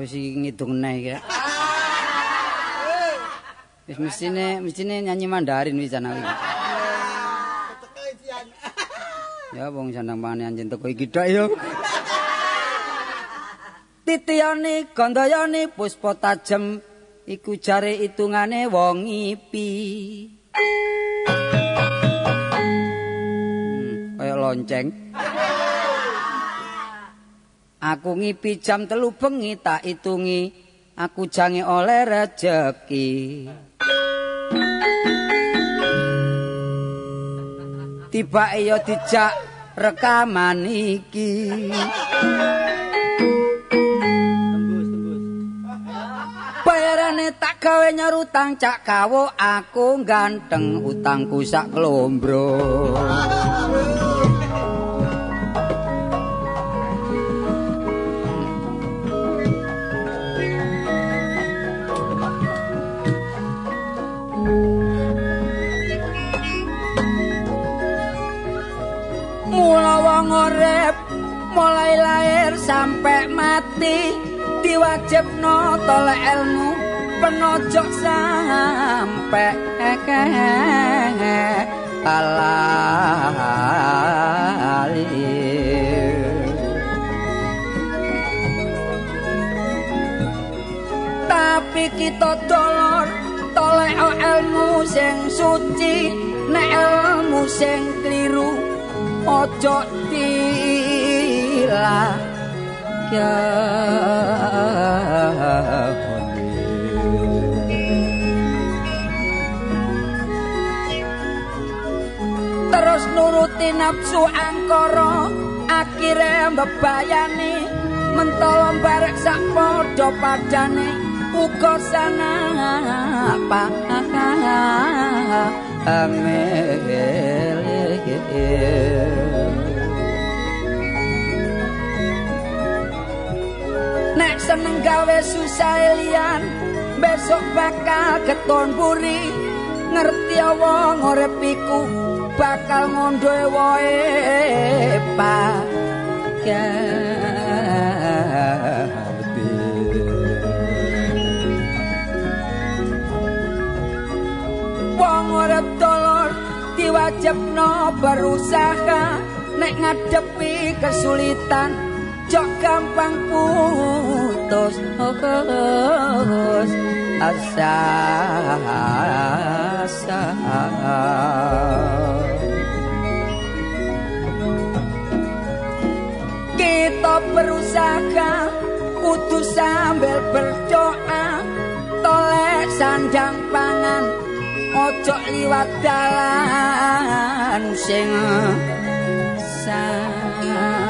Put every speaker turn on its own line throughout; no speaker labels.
wis iki ngidung neh iki. Wis mestine mestine nyanyi Mandarin wis jan aku. Ya wong sandang pangan anjen teko iki tok ya. Titiyane gandayane puspa tajem iku jare itungane wong ipi. Hmm, kaya lonceng. Aku ngipi jam telu bengi tak itungi aku jange oleh rejeki. Tiba ya dijak rekaman iki. Bayarane tak gawe nyarutang cak kawo aku ganteng utangku sak klombro. Mula wong urip mulai lahir sampe mati diwajibno tolek ilmu penojok sampe alali. tapi kita dolor tolek ilmu sing suci nek ilmu sing keliru ojo tila terus nuruti nafsu angkara akhire mbebayani mentolo barek sak padha padane uga sana apa Nek seneng gawe susah liyan Besok bakal keton buri Ngerti wong urip iku Bakal ngondoe woe pagarti Wong urip dolor diwajibno berusaha Nek ngadepi kesulitan Jok gampang putus asa asa Kita berusaha kudu sambil berdoa Tolek sandang pangan Ojo liwat dalan sing salah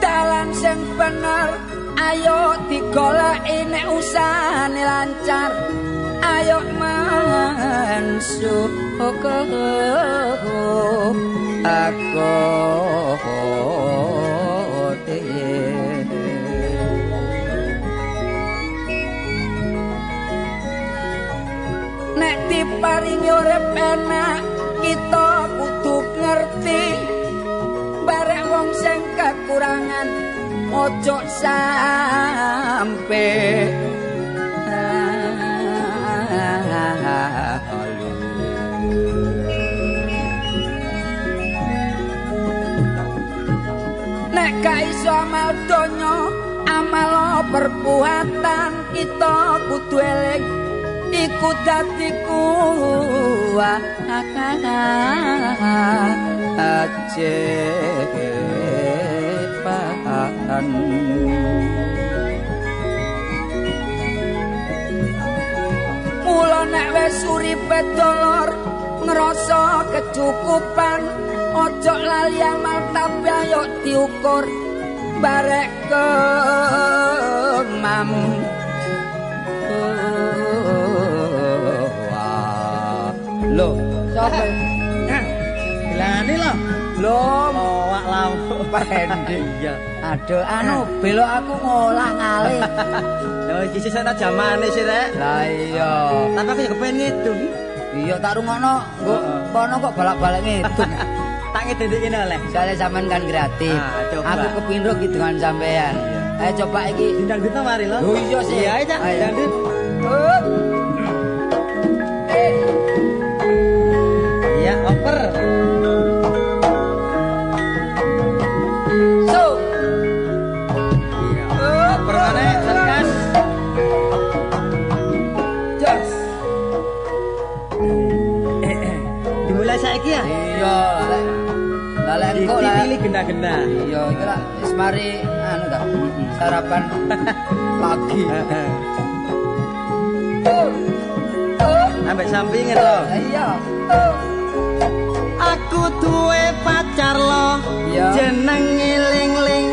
Dalan sing bener ayo digoleki nek usahane lancar ayo mansuh aku Nek diparingi urip enak kita kudu ngerti bareng wong sing kekurangan ojo sampe Nek gak iso amal donya, amal perbuatan kita kudu eling iku dadi kuwat acepan Mula nek wis uripe dolor ngrasa kecukupan ojo lali amal tapi ayo diukur barek kemam Loh, sapa?
Gelane lho.
Loh,
Lawak lawak pending ya.
aduh anu belok aku ngolah ngalih.
Lho iki sisa ta jamane sih rek.
Lah iya.
Tapi aku ya kepen ngidung.
Iya tak rungokno, nggo
Heeh.
kono kok balak-balak ngidul.
Tak ngedendek ini oleh.
Soale sampean kan kreatif.
Ah, coba.
Aku kepindho gitu dengan sampean.
Iya.
Ayo coba iki.
Dindang dito mari lo.
Oh iya sih.
Iya ayo, Cak.
Ayo.
Dindang dit.
Up. Eh,
Iya, oper.
so.
Iya. Oper mana? Sarkas.
Jos.
Dimulai saiki ya.
Iya, lek. Lah lek engko lah.
Dipilih genda-genda.
Iya, iki lah wis mari anu ta. Sarapan pagi.
Eh.
Up. Up.
Ambek sampingin lo.
Oh, Iya. Up.
Aku duwe pacar lo
Iya.
jenenge Ling-Ling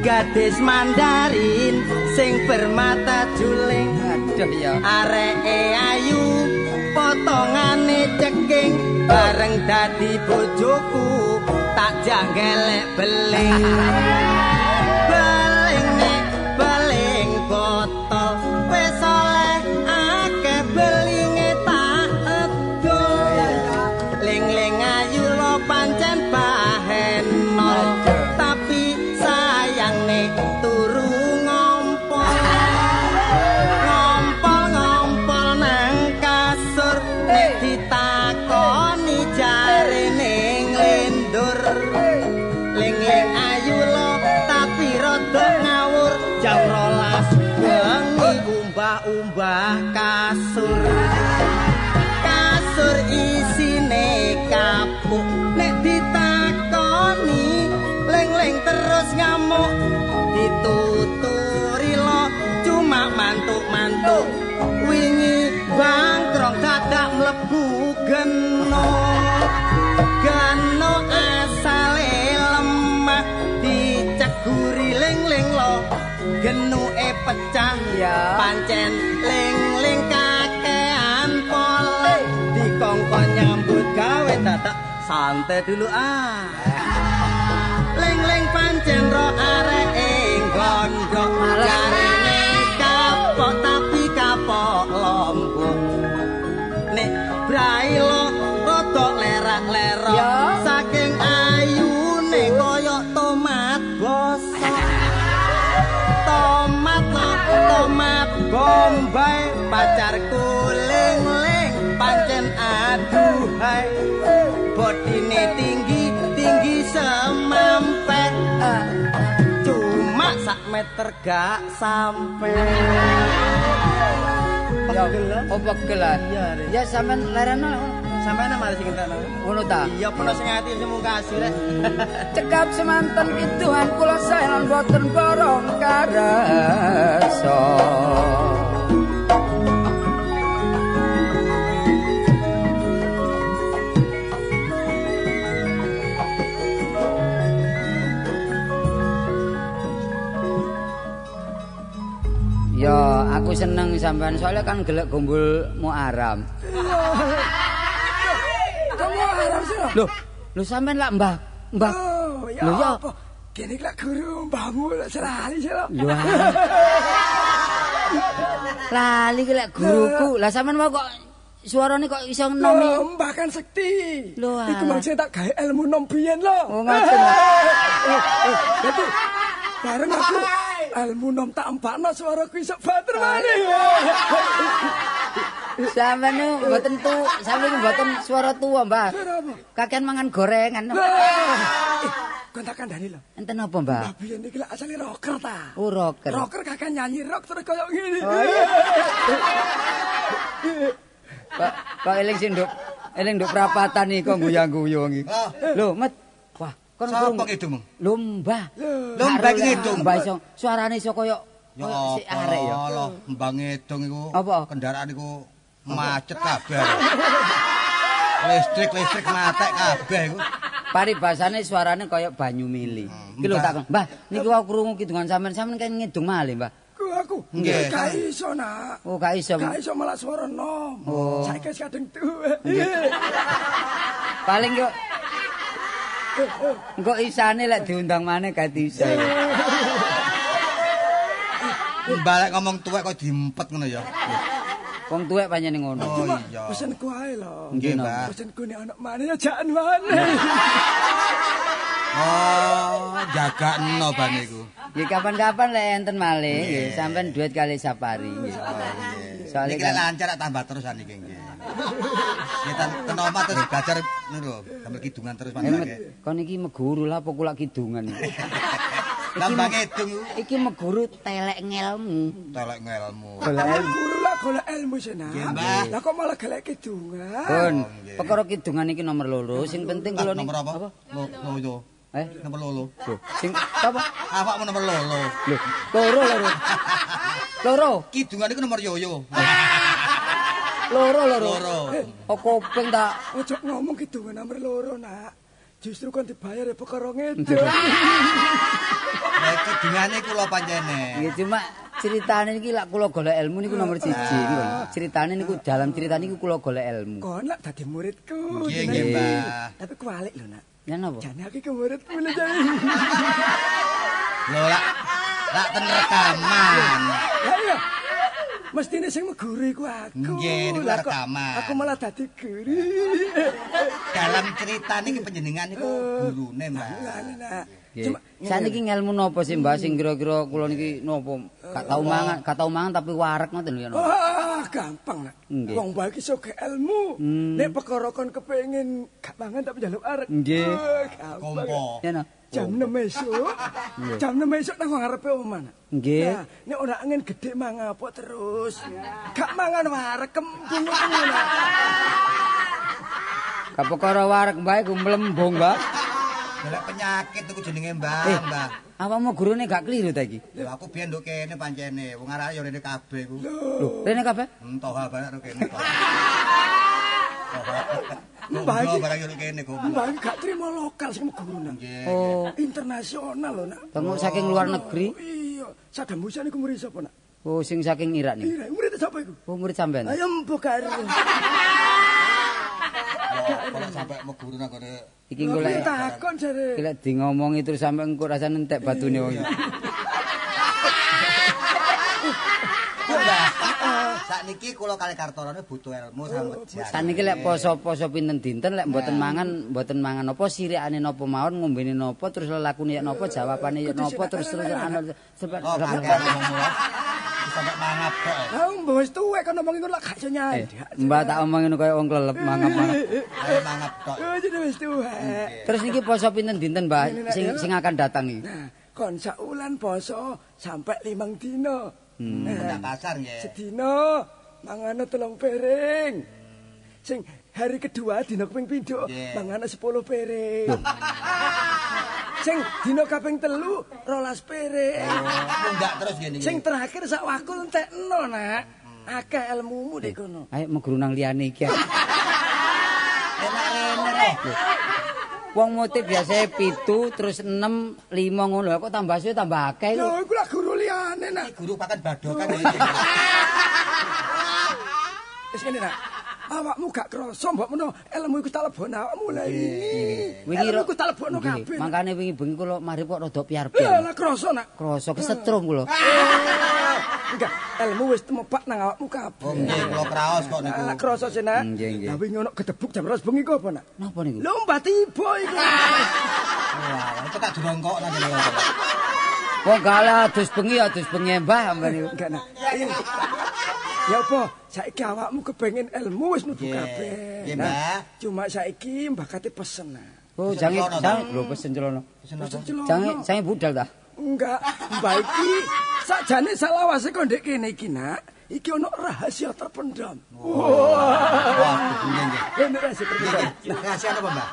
gadis Mandarin sing bermata juling
Aduh ya.
areke ayu potongane ceking bareng dadi bojoku tak janggelek beling beling nek beling botol wis oleh akeh belinge tak edol Ling-ling ayu lo pancen bahen nol
Aduh.
Tapi sayangne turu ngompol Ngompol-ngompol nang kasur Nek ditakoni jare ning lindur Ling-ling ayu lo tapi rada ngawur Jam rolas bengi umbah-umbah kasur kasur isine kapuk nek ditakoni leng-leng terus ngamuk dituturi lo cuma mantuk-mantuk wingi bangkrong dadak mlebu geno geno asale lemah diceguri leng-leng lo genuke pecah
Ya.
pancen ling-ling kakean pole dikongkon nyambut gawe dadak santai dulu ah ling-ling pancen ro areke gondok
Arek.
jarene kapok tapi kapok lombok nek brai lo rada lerak-lerok
Ya.
saking ayune koyok tomat bosok tomat lah tomat bombay pacarku ling ling pancen aduhai bodine tinggi tinggi semampai
Ah.
cuma sak meter gak sampai
Ya,
pegel lah
oh pegel ah.
Iya, Rek.
Ya sampean lereno
sampai nama ada sing kentakno?
ngono ta.
iya penuh sing ati sing muka asir eh.
Cekap semanten kidungan kula saelan boten borong karasa. Ya, aku seneng sampean soalnya kan gelek gombol mu aram.
Kamu haram sira.
Loh, lu sampean lak mbah, mbah.
Oh, ya
Lho, ya
apa? Kene kira guru mbahmu lho serali sira.
Wah. Lali ki lek guruku. Lah sampean mau kok suarane kok iso nomi.
Lho, mbah kan sekti.
Lho,
Iku
alah.
mang sing tak gawe ilmu nom biyen lho.
ah. Oh ngoten.
Dadi bareng aku ilmu nom tak empakno swaraku iso bater maneh.
Sampeyan niku mboten tu, sampeyan niku mboten suara tuwa, Mbah. Kakean mangan gorengan.
Eh, Kon tak kandhani lho.
Enten apa, Mbah?
Mbah biyen iki lak asale rocker ta.
Oh, rocker.
Rocker kakak nyanyi rock terus koyo ngene.
Oh, iya. Kok kok eling sing nduk, eling nduk prapatan iki kok guyang-guyu iki. Lho, Met. Wah, kon
Sapa
krungu-
ngidung?
Lho, Mbah.
Lho, Mbah iki ngidung.
Mbah iso suarane iso koyo
Ya
koyo sik
apa
Oh, arek ya.
lho, mbang ngedong iku
Apa?
kendaraan iku macet kabeh. Listrik-listrik matek kabeh iku.
Paribasane suarane kaya banyu mili. Iki lho
Mbah.
takon, Mbah, niki wae krungu kidungan sampean, sampean kan ngidung malih, Mbah.
Ku aku.
Nggih.
Gak iso nak.
Oh, gak iso.
Gak iso malah swara nom.
Oh.
Saiki wis kadung tuwa.
Paling yo Engko isane lek diundang maneh gak iso.
Mbalek ngomong tuwek kok diempet ngono ya.
Wong tuwek panjenengan ngono.
Oh iya.
Pesenku ae lho.
Nggih, Mbak.
Pesenku nek ana maneh jajan maneh.
Oh, jaga eno ban iku.
Ya kapan-kapan lek enten malih nggih, sampean duet kali sapari nggih. Soale
Soale iki
kan-
lancar tak tambah terus an iki nggih. Ya ten ten omah terus belajar ngono lho, sambil kidungan terus
Emet,
pandane.
kon iki meguru lah apa kula kidungan.
Tambah ngedung iku
Iki meguru telek ngelmu.
telek ngelmu.
Guru lah golek ilmu senang.
Nggih, Mbah.
Lah kok malah golek kidungan.
Kun,
nggih.
perkara kidungan iki nomor loro, sing penting
Ah,
kula niki
Nomor apa? Lo loyo.
Eh,
Nomor lolo.
lho, sing apa?
Awakmu nomor lolo.
Lho, loro loro. Loro,
Kidungan iku nomor yoyo.
loro loro.
Loro.
Oh kopeng tak
Ojo ngomong kidungan nomor loro, Nak. Justru kon dibayar ya perkara ngedon.
Lah kidungane kula panjene.
Ya cuma ceritane niki lak kula golek ilmu niku nomor 1 niku. Ceritane niku dalam cerita niku kula golek ilmu.
Kon nak dadi muridku.
Nggih,
Nak.
nggih, Mbah.
Tapi kualik lho, Nak.
Ya napa?
Jane aku ke muridku lho, Jane.
Lho lak lak ten rekaman.
Lah iya. Mestine sing meguru iku aku.
Nggih, niku
Lah, kok
rekaman.
Aku malah dadi guru.
Dalam cerita niki panjenengan niku gurune, Mbak.
Lah, lah, lah.
Cuma saniki ngelmu napa sih Mbah sing kira-kira kula niki napa gak tau mangan, gak tau mangan tapi wareg ngoten lho ya napa.
Wah, Ah, gampang nak.
Nggih. Hmm.
Wong bae iki sok ilmu. Nek perkara kon kepengin gak mangan tapi njaluk arek.
Nggih.
Eh, gampang.
Kompo.
Ya napa?
Jam 6 esuk, jam 6 esuk nang ngarepe omah. Nak.
Nggih.
Nah, nek ora angin gedhe mangan apa terus. Gak mangan warek kembung ngono. Nak.
Gak perkara wareg Mbah iku mlembung Mbah.
Golek penyakit iku jenenge Mbak,
Eh,
Mbak.
awakmu gurune gak keliru ta iki?
Lho aku biyen nduk kene pancene, wong arek yo rene kabeh iku. Hmm,
Lho, rene kabeh?
Entah apa nek rene kene.
Mbak
Mbak
iki-
barang yo kene kok.
Mbah iki gak trimo lokal sing guru nang.
Nggih.
Oh,
Internasional lho, Nak.
temu saking luar negeri.
Iya, Saddam Hussein iku murid sapa, Nak?
Oh, sing saking Irak niku.
Ira, murid sapa iku?
Oh, murid sampean.
Ayo mbok karo.
Kalau sampe meguru nang kene.
Iki golek
takon jare.
golek di ngomongi terus sampe engko rasane entek batune wong. iki.
Sakniki kula kali kartorane butuh ilmu sambet jan.
Saniki lek poso-poso pinten dinten lek mboten mangan mboten mangan apa sirikane napa mawon ngombene napa terus lelakune ya napa jawabane ya napa terus terus anu sebab
Oh, kakek ngomong mulu. Sampe mangap eh. kok.
Ah, mbah wis tuwek kon ngomong iku lak gak iso
Eh,
nyandak.
Mbak tak omongin kaya wong klelep mangap-mangap.
Ayo mangap tok.
Oh, jadi wis tuwek.
Terus niki poso pinten dinten, Mbak? Sing sing akan datang iki.
Nah, kon saulan poso sampai limang dino. Nah,
Ndak kasar nggih.
sedino mangano telung piring. Sing hari kedua dino kaping pindho
Nggih.
mangano 10 piring. Sing dino kaping telu rolas piring.
Oh,
Mundak terus ngene iki.
Sing terakhir sak wakul entekno, Nak. Akeh ilmumu dek kono.
Ayo meguru nang liyane iki.
Enak-enak.
Wong mote biasane 7 terus 6 5 ngono. Lah, Kok tambah suwe tambah akeh kok.
Lho, iku lak guru liyane, Nak.
Guru pakan badokan ngene.
Wis ngene nak. Awakmu gak krasa mbok meno ilmu iku tak lebokno awakmu lha iki. Ilmu
ro-
iku tak lebokno
Nggih,
kabeh.
Mangkane wingi bengi kula mari kok rada
Lha
piar-piar.
lha krasa nak. Ah,
Krasa kesetrum kula.
Enggak, ilmu wis temebak nang awakmu
Oh
kabeh.
nggih, kula kraos kok niku.
Lha krasa sih nak.
Oh, Nggih, nggih.
Lah wingi ono gedebuk jam 12 bengi ku apa nak?
Napa niku?
Lho mbah tiba iku.
Ah.
Wah, itu tak durongkok nang kene.
Wong kalah adus bengi adus bengi mbah sampean niku.
Enggak nak. Ini. Ya apa? Saiki awakmu kepengin ilmu wis nuju
Nggih.
kabeh.
Nggih,
Nah,
Mbah.
Cuma saiki mbah kate pesen nak.
Oh,
Pesen
jange
celono,
jange lho pesen celono.
Pesen celono.
Jange jange budal ta.
Enggak, Mbak iki sakjane salawase kok ndek kene iki, Nak. Iki ono rahasia terpendam.
Oh. Wah, nggih nggih.
Ono rahasia terpendam.
Nggih. Rahasia apa, Mbak?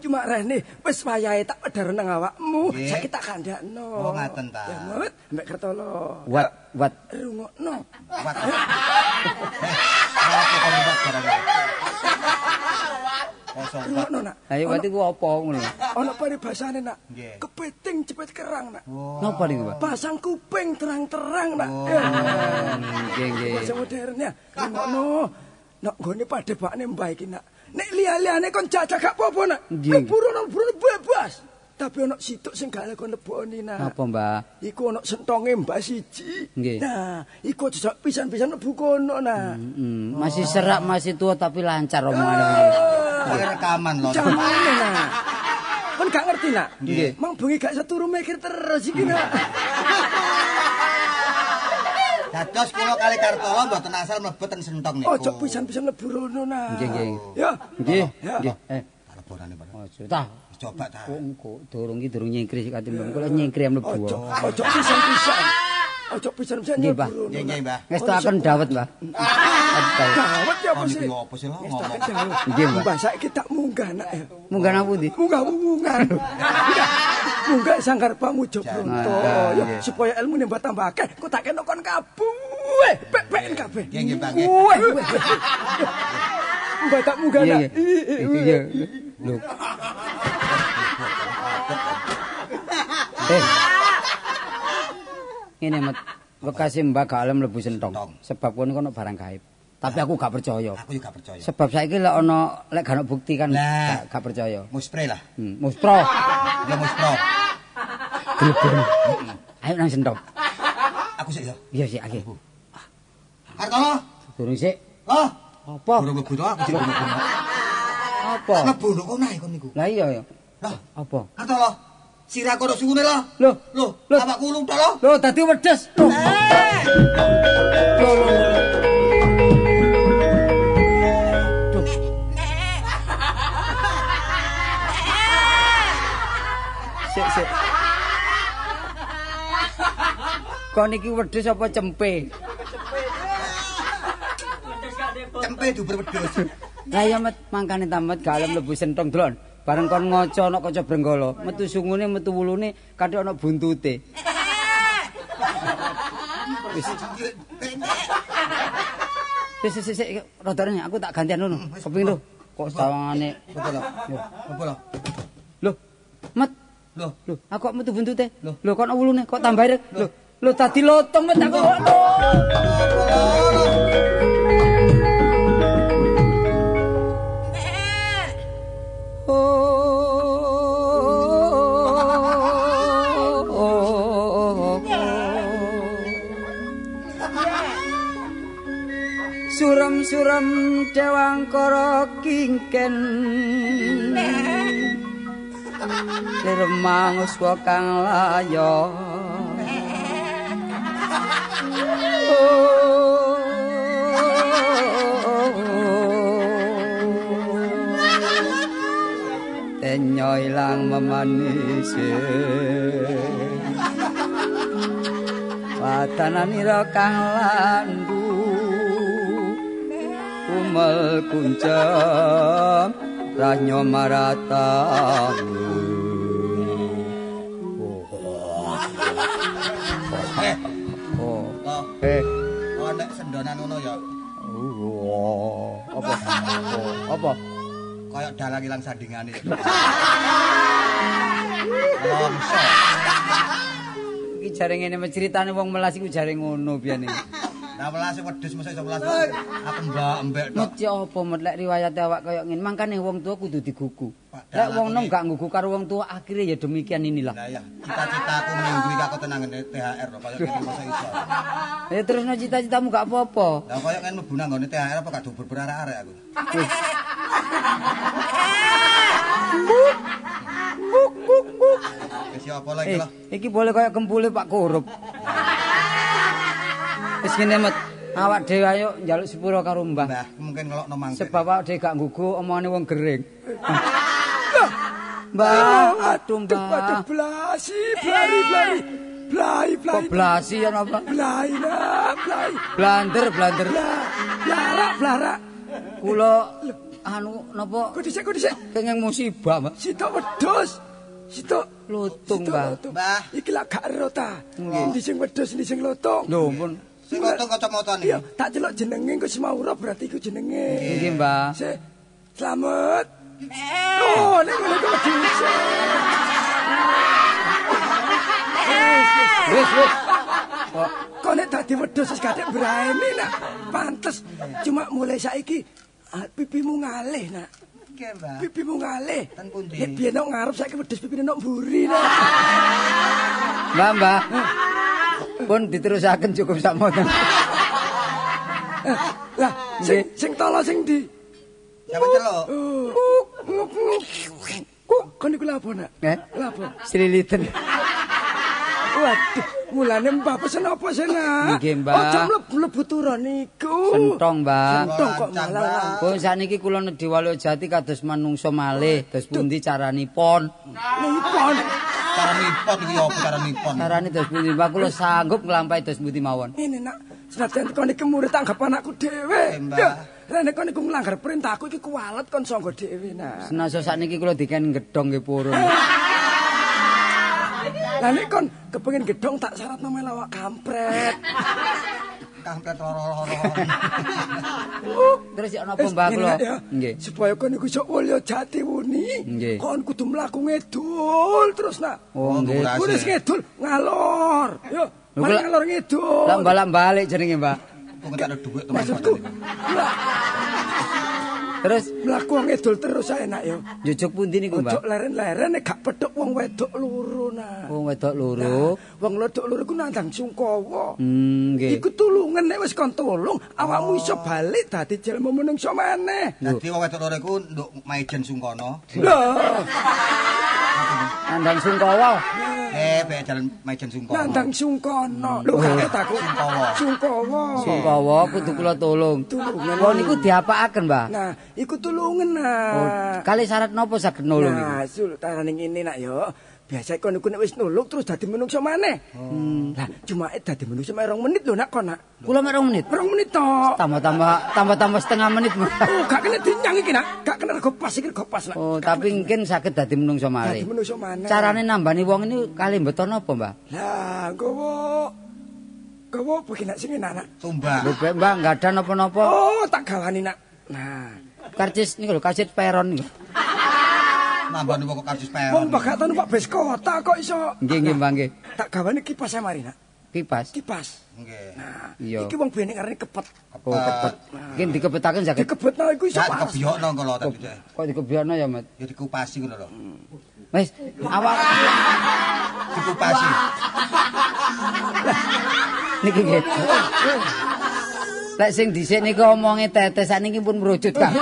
Cuma rene wis wayahe tak pedharo nang awakmu,
Nggih.
saiki tak kandhakno.
Oh, ngaten ta.
Ya mulut mbek kertolo.
Wat wat.
Rungokno.
Kuat. Aku kon kuat jarang. Poso kuat.
Rungokno, Nak.
Ayo wat iku apa ngono.
Ono peribasane, Nak.
Eh. Nggih.
Kepiting cepet kerang, Nak.
Napa niku, Pak?
Pasang kuping terang-terang, Nak.
Oh, Nggih nggih.
Bahasa modernnya. Ngono. Nek gone padhebakne mbah iki nak. Nek liya-liyane kon jajak gak apa-apa nak.
Nggih.
Mlebu nang buru bebas. Tapi ana situk sing gak lekon leboni nak.
Apa, Mbak?
Iku ana sentonge Mbah siji.
Nggih.
Nah, iku jejak pisan-pisan mlebu kono nah.
Mm, masih serak, masih tua tapi lancar omongannya.
Ah,
Kowe rekaman lho.
Jamane nak. Kon gak ngerti nak.
Nggih.
Mang bengi gak seturu mikir terus iki nak.
Dados kula kali Kartolo mboten asal mlebet ten sentong niku.
Ojo pisan-pisan mlebu rono nak.
Mm. Nggih, nggih.
Ya.
Nggih,
Ya.
nggih. Eh,
Leborane Pak.
ojo tah.
Coba ta.
Oh.
Kok engko durung iki durung nyengkri sik katim kula nyengkri yang mlebu.
Ojo, ojo pisan-pisan. Ojo pisan-pisan ya,
Nggih,
mlebu
Mbah.
rono.
Nggih, nggih, Mbah.
Ngestoaken dawet, Mbah. Dawet.
Gawat ya apa
Kon
sih?
iki Oh, opo sih lho ngomong.
Nggih, Mbak.
Mbah saiki tak munggah nak ya.
Munggah nang pundi?
Munggah wungungan. Munggah sangkar pamujo pronto.
Nah,
Ya,
nggih.
supaya ilmu nembah tambah akeh, kok tak kena kon kabeh. Pek-pekan kabeh.
Iya, Nggih, nggih, Mbak, nggih.
Weh, weh. Mbah tak munggah
Iya,
nak.
iya. Iya. Lho. Eh. Ngene, Mat. Wekase Mbak gak oleh mlebu sentong.
Sentong.
Sebab kono kono barang gaib. Tapi aku gak percaya.
Aku juga percaya.
Sebab saiki lek ana lek gak ana bukti kan gak,
Lah.
gak percaya.
Muspre lah.
Hmm, muspro.
Ya muspro.
Ayo nang sentong.
Aku sik ya.
Iya sik akeh.
Kartolo.
Durung sik.
Oh.
Apa?
Durung mlebu to aku sik mlebu.
Apa?
Mlebu nduk kono ae kon niku.
Lah iya ya.
Lah,
Apa?
Kartolo. Sirah kono sungune lho.
Lho.
Lho,
Lho.
awak kulung to lho.
Lho dadi wedes. Lho. Lho, lho, lho. Duh. Sik sik. Kon iki wedes apa cempe?
Cempe duper wedhus.
Lah ya met mangkane tamat gak alem mlebu senthong dolon. Bareng kon ngoco ana kaca brenggala, metu sungune metu wulune kadhe ana buntute. Wis wis wis wis, rodane aku tak gantian ngono. Kepengin lho kok sawangane.
Apa lho? Apa lho?
Lho, met
Lho.
lho aku kok metu buntute. Lho kok ana wulune kok tambah ireng. Lho lho dadi lotong met aku.
Suram-suram dewangkara kingken
Lir manguswa kang layo. Tenyo ilang memanisi Watananira kang landu Kumel kuncem Ranyo maratamu
Eh,
Oh.
lho.
Eh.
Oh, nek sendonan ngono ya
Oh. Apa? Oh. Apa?
kaya dalang ilang sandingane. Longso.
Iki jare ngene menceritane wong melas iku jare ngono biyen.
Lah welas wedhus mesti iso welas. Aku mbak embek tok.
Mesti apa met lek riwayat awak kaya ngene mangkane wong tua kudu digugu. Lek
Padahal
wong
aku
nom
nih-
gak ngugu karo wong tua akhirnya ya demikian inilah.
Lah ya, cita-citaku minggu iki aku tenang ngene THR lho kaya ngene masa iso.
Ya terusno cita-citamu gak apa-apa.
Lah kaya ngene mlebu nang nggone THR apa gak dubur berarek-arek aku. Wis ya apa lagi
Eh,
lho.
iki boleh kaya kempule Pak Korup. Wis ngene met awak dhewe ayo njaluk sepura karo Mbah.
Mbah, aku mungkin ngelokno mangkene.
Sebab awak dhewe gak nggugu omongane wong gering. Mbah, Ah,
Waduh
aduh Mbah.
blasi, blari-blari. Blai, blai.
Kok blasi ya napa?
Blai nak, blai.
Blander, blander.
Blah, blarak, blarak.
Kula anu napa
Kudu sik, kudu sik.
kenging musibah, Mbak.
Sitok wedhus. Sitok Sitok
Lutung, Mbah.
lutung.
Mbah.
Iki lak gak ero ta. Ndi sing wedhus, ndi sing lutung.
Lho, pun.
Sing kotok kacamata
Iya,
niki.
tak celok jenenge iku Smaura berarti iku jenenge.
Nggih, Mbah.
Sik. Slamet. Oh, nek ngene kok bisa.
Wis, wis. Kok
Kok nek dadi wedhus wis kadek berani nak. Pantes. Cuma mulai saiki ah, pipimu ngalih nak.
niki, Mbak.
Pipimu ngalih.
Ten pundi?
Nek biyen nok ngarep saiki wedhus pipine nok mburi nek.
Mbak, Mbak. Pun diterusaken cukup sakmoten.
Lah, sing
Nggih.
sing tala sing ndi?
Siapa celok?
Kok kon iku lapo nak?
Eh?
Lapo?
Sliliten.
Waduh, mulane mbah pesen apa sih nak?
Nggih, Mbah.
Aja mlebu-mlebu turon niku.
Sentong, Mbak.
Sentong kok
Lancang,
malah.
Mbak.
lancang.
Pun saniki kula nedhi Walu Jati kados manungsa malih, dos pundi caranipun?
Nipon.
Cara nipon iki apa cara nipon?
Carane dos pundi? Mbak kula sanggup nglampahi dos pundi mawon.
Ini nak, senajan kon iki murid tanggap anakku dhewe.
Eh, Mbak.
Ya, Rene kon iku nglanggar perintahku iki kuwalet kon sangga dhewe nak.
Senasa sakniki kula diken gedhong nggih purun.
Lah nek kon kepengin gedhong tak syarat nama lawak kampret.
Kampret roro-roro.
Terus ya napa Mbak kula?
Enak ya.
Nggih.
Supaya kon iku iso mulya jati wuni.
Nggih.
Kon kudu mlaku ngedul terus nak.
Oh, nggih.
Asik.
Wis ngedul ngalor. Yo,
Lho,
mari
kula-
ngalor ngedul.
Lah balak balik jenenge Mbak.
Kok nggak ada duit
Maksudku,
teman-teman.
Terus
mlaku ngedul terus ae nak yo.
jujuk pundi niku
Ojo
Mbak?
leren-leren nek gak pedhok wong wedok loro nak.
Wong wedok loro.
Wong wedok loro iku nandang sungkawa.
Oh. Hmm, nggih. Oh.
Iku tulungan nek wis kon tulung, awakmu iso balik dadi jelema menungso maneh.
Dadi wong wedok loro iku nduk maijen sungkono.
Loh,
Andang sungkawa.
Eh, pe jalan maijen sungkono.
nandang sungkono. Lho kaget aku.
Sungkawa.
Sungkawa.
Oh. Sungkawa kudu kula tolong. Wong niku diapakaken, Mbak?
Nah, iku tulungan nah.
Oh, kali syarat napa saged nulung niku?
Nah, sultaran ngene nak yo. Biasa kon iku nek wis nulung terus dadi menungso maneh.
Hmm.
Lah, cuma eh, dadi menungso mek 2 menit lho nak kon nak.
Kula mek rong menit.
2 menit tok.
Tambah-tambah tambah-tambah setengah menit. Mbak.
Oh, gak kena dinyang iki nak. Gak kena rego pas iki rego pas nak.
Oh, tapi mungkin sakit dadi menungso
Dadi
malih.
menungso maneh.
Carane nambani wong ini kali mbeton apa, Mbak?
Lah, gowo. Gowo pergi nak sini nak. nak.
Tumbang.
Lho, Mbak, Mbak enggak ada napa-napa.
Oh, tak galani nak. Nah,
Karcis niku lho, karcis peron niku.
Nambani pokok karcis peron.
wong bagatan Pak Bes kota kok iso.
Nggih, nggih, Mbak, nggih.
Tak gawani kipas ae mari nak.
Kipas.
Kipas.
Nggih.
Nah,
Iya.
iki wong biyen ngarani kepet.
Oh, kepet. Mungkin dikepetaken saged.
Dikebetno iku iso
Sak
panas.
kebiyokno engko lho tadi. Cek.
Kok dikebyono ya, Mat?
Ya dikupasi ngono lho.
Wis, awak
Dikupasi.
niki nggih. Lek sing dhisik niku omonge tetes sakniki pun merujut, Kak.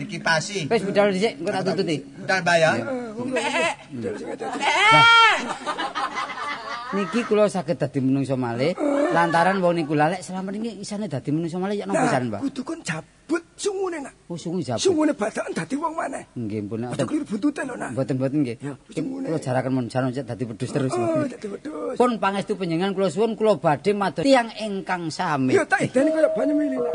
Dikipasi.
Wis budal dhisik engko tak tututi.
Dan bayar.
Niki kula saged dadi menungso malih lantaran wong niku lalek selama niki isane dadi menungso malih ya napa
Nah,
pisan, Mbak?
kudu kon jabut sungune nak.
Oh, sungguh jabut.
Sungune badakan dadi wong maneh.
Nggih, pun
Aja keliru buntute lho nak.
Mboten-mboten nggih.
Ya,
Kim,
sungguh,
Kula
Nek.
jaraken mun jaran cek dadi pedus terus.
Oh, dadi wedhus.
Pun pangestu panjenengan kula suwun kula badhe matur tiyang ingkang sami.
Yo tak ideni koyo banyu mili nak.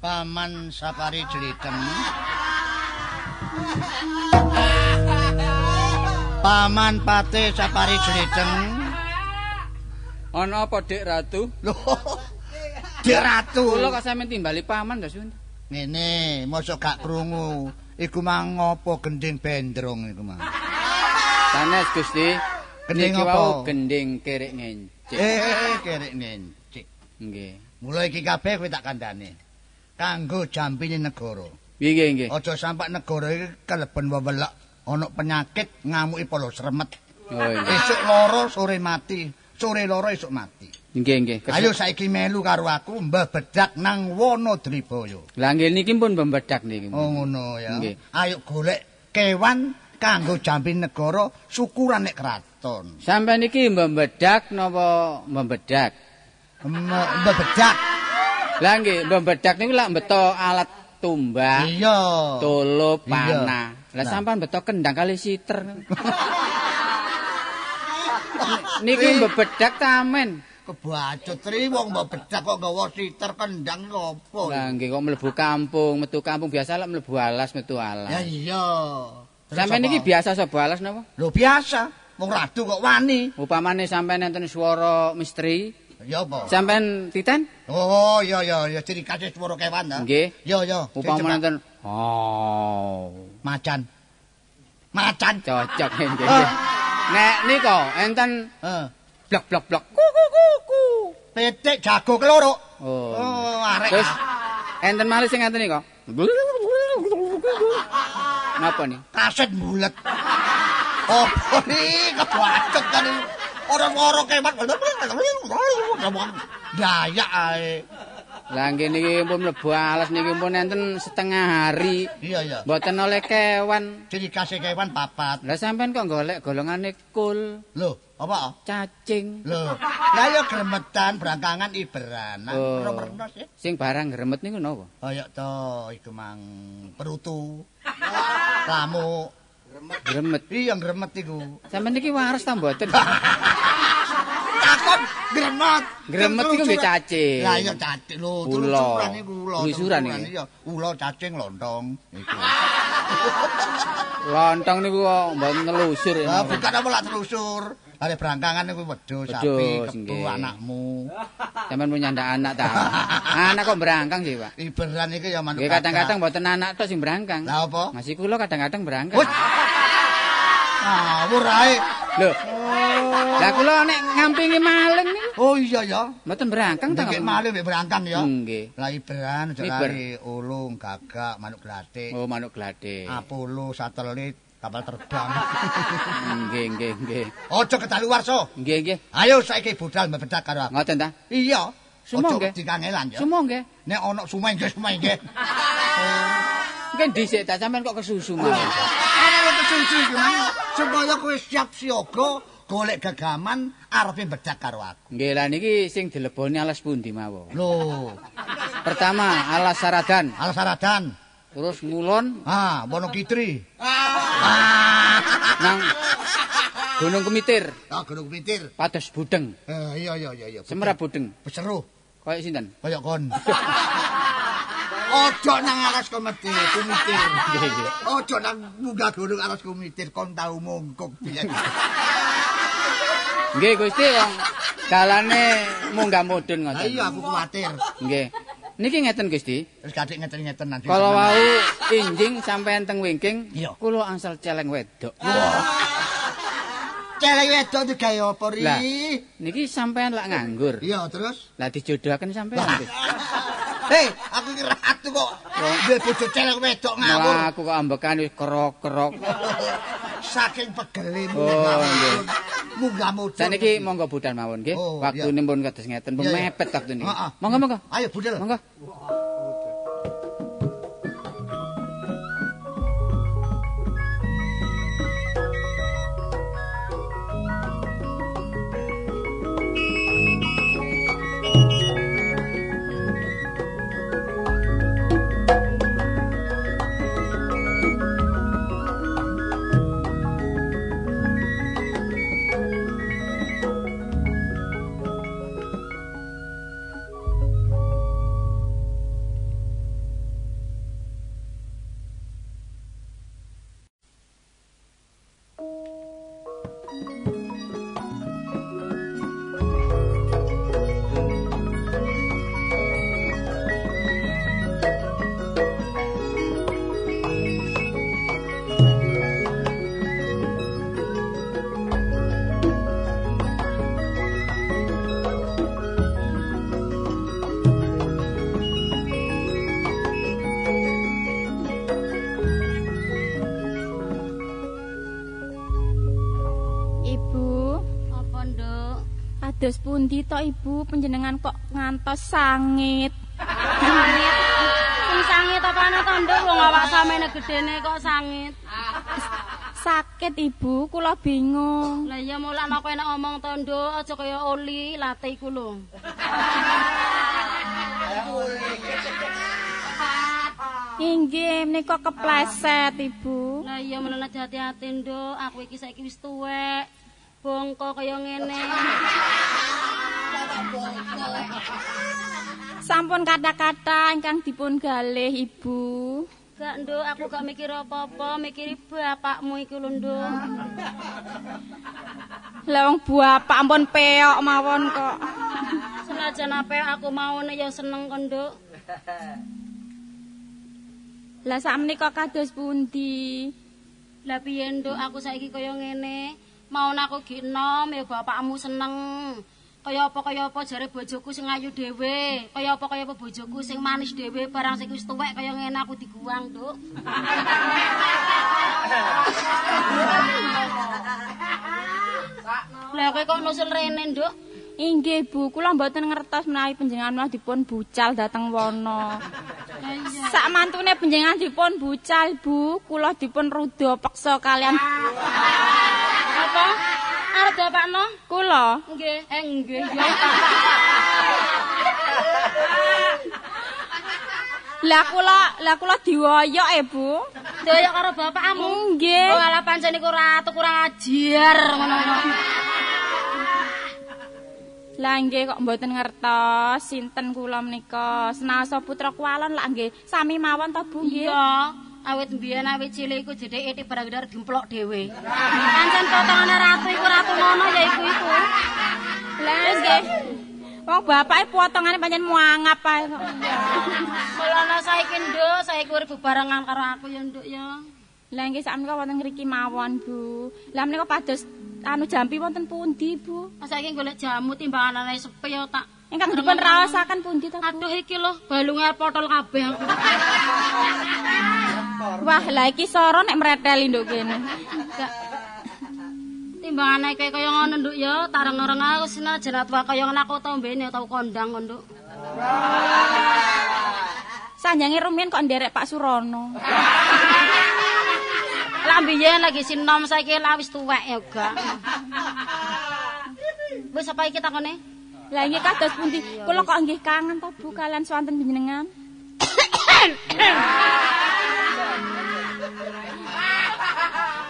Paman Sapari Jelitem. Paman Pate Sapari Jelitem.
Ana apa Dik Ratu?
Loh. Dik Ratu.
Kula kok sampeyan timbali paman to suwun.
Ngene, mosok gak krungu. Iku mang ngopo gending bendrong iku mang.
Sanes Gusti.
Gending
Niki
apa?
wau Gending kerek ngencik.
Eh, eh, eh, kerek ngencik.
Nggih.
Mula iki kabeh kowe tak kandhane. Kanggo jampine negara.
Piye nggih?
Aja sampak negara iki keleben wewelek ana penyakit ngamuki polo sremet.
Oh iya.
Esuk loro sore mati, sore loro esuk mati.
Nggih nggih. Kes-
Ayo saiki melu karo aku mbah bedak nang Wonodriboyo.
Lah nggih niki pun pembedak niki.
Oh ngono ya.
Nggih.
Ayo golek kewan kanggo jambi negara syukuran nek kraton.
Sampai niki membedak napa membedak?
Em- Bebedak.
Lah nggih membedak niku lak beto alat tumbak,
Iya.
tolo,
Iya.
panah. Lah
Nah.
sampean beto kendang kali siter.
Eh.
niki membedak tamen.
Kebacut tri wong mbok bedak kok nggawa siter kendang iki opo?
Lah nggih kok mlebu kampung, metu kampung biasa lak mlebu alas, metu
Ya
alas.
iya. Terus
Sampai
apa?
niki biasa sapa alas napa?
Lho biasa. Wong radu kok wani.
Upamane sampean nonton swara misteri,
Ya apa?
sampean titen?
Oh iya iya ya ciri khas swara kewan ta.
Nggih.
Ya ya.
Upamane
Coba.
nonton oh.
macan. Macan.
Cocok nggih.
Ah.
Nek nika enten
Heeh.
blok blok blok kuku kuku.
Petik jago keloro.
Oh.
Oh, arek.
Terus enten malih sing ngeten nika. Napa nih?
kaset bulet. Opo iki kebacut kan ini. Orang-orang kemat. Daya ae.
Lah nggih niki pun mlebu alas niki pun enten setengah hari.
Iya iya.
Mboten oleh kewan.
Ciri khas kewan papat.
Lah sampean kok golek golongane kul,
Lho, apa?
cacing.
Lho. Lah ya gremetan brangkangan iberan.
Oh.
Nomor-nomor sih.
Sing barang gremet niku napa?
Kaya to iku mang perutu. Lamuk.
Gremet.
Iya gremet iku.
Sampeyan niki waras ta mboten?
Takon gremet.
Gremet iku nggih cacing.
Lah iya cacing
Ula.
lho, telusuran iku ula.
Telusuran iki?
iya. Ula cacing lontong iku.
Lontong niku kok mboten nelusur ya.
Lah bukan apa lak telusur. Are brangkangan iku wedhus, sapi,
Wedhus,
kebu
nggih.
anakmu.
Sampeyan punya ndak anak ta? Ah, Anak kok berangkang sih, Pak?
Iberan iki ya manuk.
Nggih kadang-kadang mboten anak tok sing berangkang.
Lah apa?
Masih kula kadang-kadang berangkang.
Wes. Ngawur ae.
Lho. Lah kula nek ngampingi maling niku
Oh iya ya.
mboten berangkang ta?
Ndek malih mbek brangkang ya.
Hmm.
Nggih.
Lah iberan aja
Iber.
kali ulung, gagak, manuk glatik,
Oh, manuk glade.
Ah. Apollo satelit, kapal terbang.
Nggih, nggih, nggih.
Ojo ketaluwarso.
Nggih, nggih.
Ayo saiki budal mbebedak karo aku.
Ngoten ta?
Iya.
Semua
Ojo
nggih.
dikangelan ya.
Sumo nggih.
Nek ana sumai nggih sumai nggih.
Mungkin dhisik ta sampean kok kesusu malah.
Ana wong kesuci iki Mang. supaya kowe siap siaga golek gegaman arepe bedak karo aku.
Nggih, lah niki sing dileboni alas pundi mawon.
Lho,
Pertama, alas saradan,
Alasaradan.
terus ngulon
Ah, Wono Kitri.
nang Gunung Kemitir,
Ah, Gunung Pitir.
Pados Budeng,
Eh, iya iya iya iya.
Semra Budeng.
Peseru
Kayak sinten?
kaya kon. Ojo nang alas komedi, kumitir. Ojo nang munggah gunung alas kumitir, kon tau mongkok piye.
Nggih Gusti wong dalane munggah mudhun
Lah
ngoten.
iya aku kuwatir.
Nggih. Niki ngeten Gusti,
Terus kadek ngeten-ngeten nanti.
kala wau injing sampean teng wingking,
Iya.
kula angsal celeng wedok.
Celek wedok itu gawe apa ri?
Lah, niki sampean lak nganggur.
Iya, ah, terus.
Lah dijodohaken sampean. Gusti.
Hei, aku ki ratu kok.
Oh.
Duwe bojo celek wedok ngawur.
Malah aku kok ambekan wis kerok-kerok.
Saking pegele
Oh,
munggah.
nggih.
Munggah mudhun.
Saniki monggo budal mawon nggih.
Oh, iya.
Waktune pun kados ngeten, pun
Iya, Ah, iya.
mepet waktune.
Heeh.
Monggo monggo.
Ayo budal.
Monggo.
Dados pundi tok Ibu panjenengan kok ngantos sangit. Sangit. Sing sangit apane to Nduk wong awak sampeyan gedene kok sangit. Sakit Ibu, kula bingung. Lah iya mulakno kowe nek ngomong to Nduk, aja kaya oli late iku lho. Inggih, menika kepleset, Ibu. Lah iya menene hati-hati, Nduk. Aku iki saiki wis tuwek. Bongko kaya ngene. Sampun kata-kata ingkang dipun galih, Ibu. Gak, Nduk, aku gak mikir apa-apa, mikiri bapakmu iku lho, Nduk. Lah wong bapak ampun peok mawon kok. Senajan apik aku maune ya seneng kok, Nduk. Lah sakmenika kados pundi? Lah piye nduk aku saiki kaya ngene, maun aku gi enom ya bapakmu seneng. Kaya apa kaya apa jare bojoku sing ayu dhewe, kaya apa kaya apa bojoku sing manis dhewe, barang sing wis tuwek kaya ngene aku diguang, Nduk. Lah kowe kok nusul rene, Nduk? Inggih, Bu, kula mboten ngertos menawi panjenengan malah dipun bucal dhateng wana. Sak mantune panjenengan dipun bucal, Bu, kula dipun ruda peksa kalian. Apa? Arep bapakno? Kula? Nggih. Eh, nggih, ya. Lah kula, lah kula diwoyok e, Bu. Diwoyok karo bapakmu? Nggih. Oh, ala pancen iku ratu kurang ajar ngono-ngono. Lah nggih kok mboten ngertos sinten kula menika. Senasa putra kualon lah nggih sami mawon to Bu nggih. Iya, awit mbiyen awit cilik iku jedheke etik barang gemplok dhewe. Pancen potongane ratu iku ratu nono ya iku iku. Lah nggih. Wong bapake potongane pancen muangap ae kok. Mulane saiki nduk, saiki urip bebarengan karo aku ya nduk ya. Lah nggih sakmenika wonten ngriki mawon Bu. Lah menika pados anu jampi wonten pundi Bu? Saiki golek jamu timbanganane sepi ya tak. Ingkang dipun raosaken pundi ta Bu? Aduh iki lho balunge potol kabeh aku. Wah, lah iki soro nek mreteli nduk kene. Timbangane kaya kaya ngono nduk ya, tareng-areng aku senajan atwa kaya ngono aku tau mbene tau kondang kok nduk. Sanjange rumiyin kok nderek Pak Surono. Lah mbiyen lagi sinom saiki lah wis tuwek ya gak. Wis apa iki takone? Lah nggih kados pundi? Kula kok nggih kangen ta Bu kalian swanten panjenengan.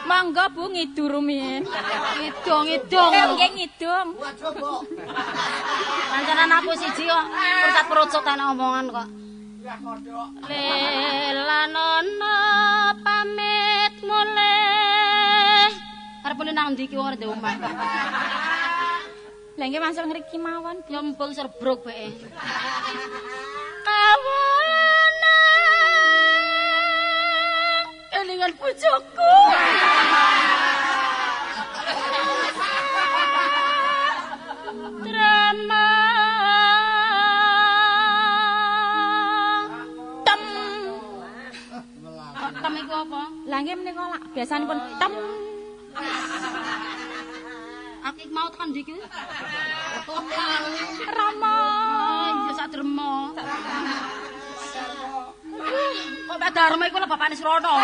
Monggo Bu ngidur rumiyin. Ngidung ngidung. Eh nggih ngidung. Pancanan aku siji kok pusat perucut ana omongan kok. Lelanono pamit mulih. Arepune nang ndi iki wong ora omah. Lah nggih masuk ngriki mawon, ya mbung serbruk beke. Kawana. Elingan bojoku. Drama. Tem. Tem iku apa? Lah nggih menika lak biasanipun tem. Aku iki mau tekan iki. Rama. Ya sak derma. Kok Pak Darma iku lho bapakne Srana.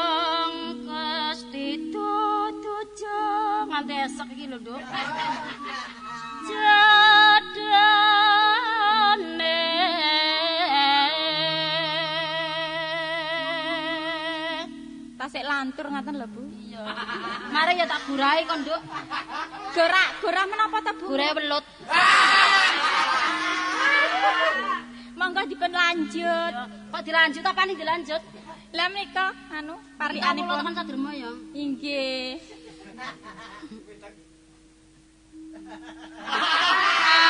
Mengkes ditutujo nganti esok iki lho, Nduk. Jadane Tasik lantur ngaten lho, Bu. Iya. Mari ya tak gurai kon, Nduk. Gorak, gorah menapa ta, Bu? Gorak welut. Monggo dipun lanjut. Kok dilanjut apa nih dilanjut? Lah menika anu parikanipun tekan saderma ya. Inggih.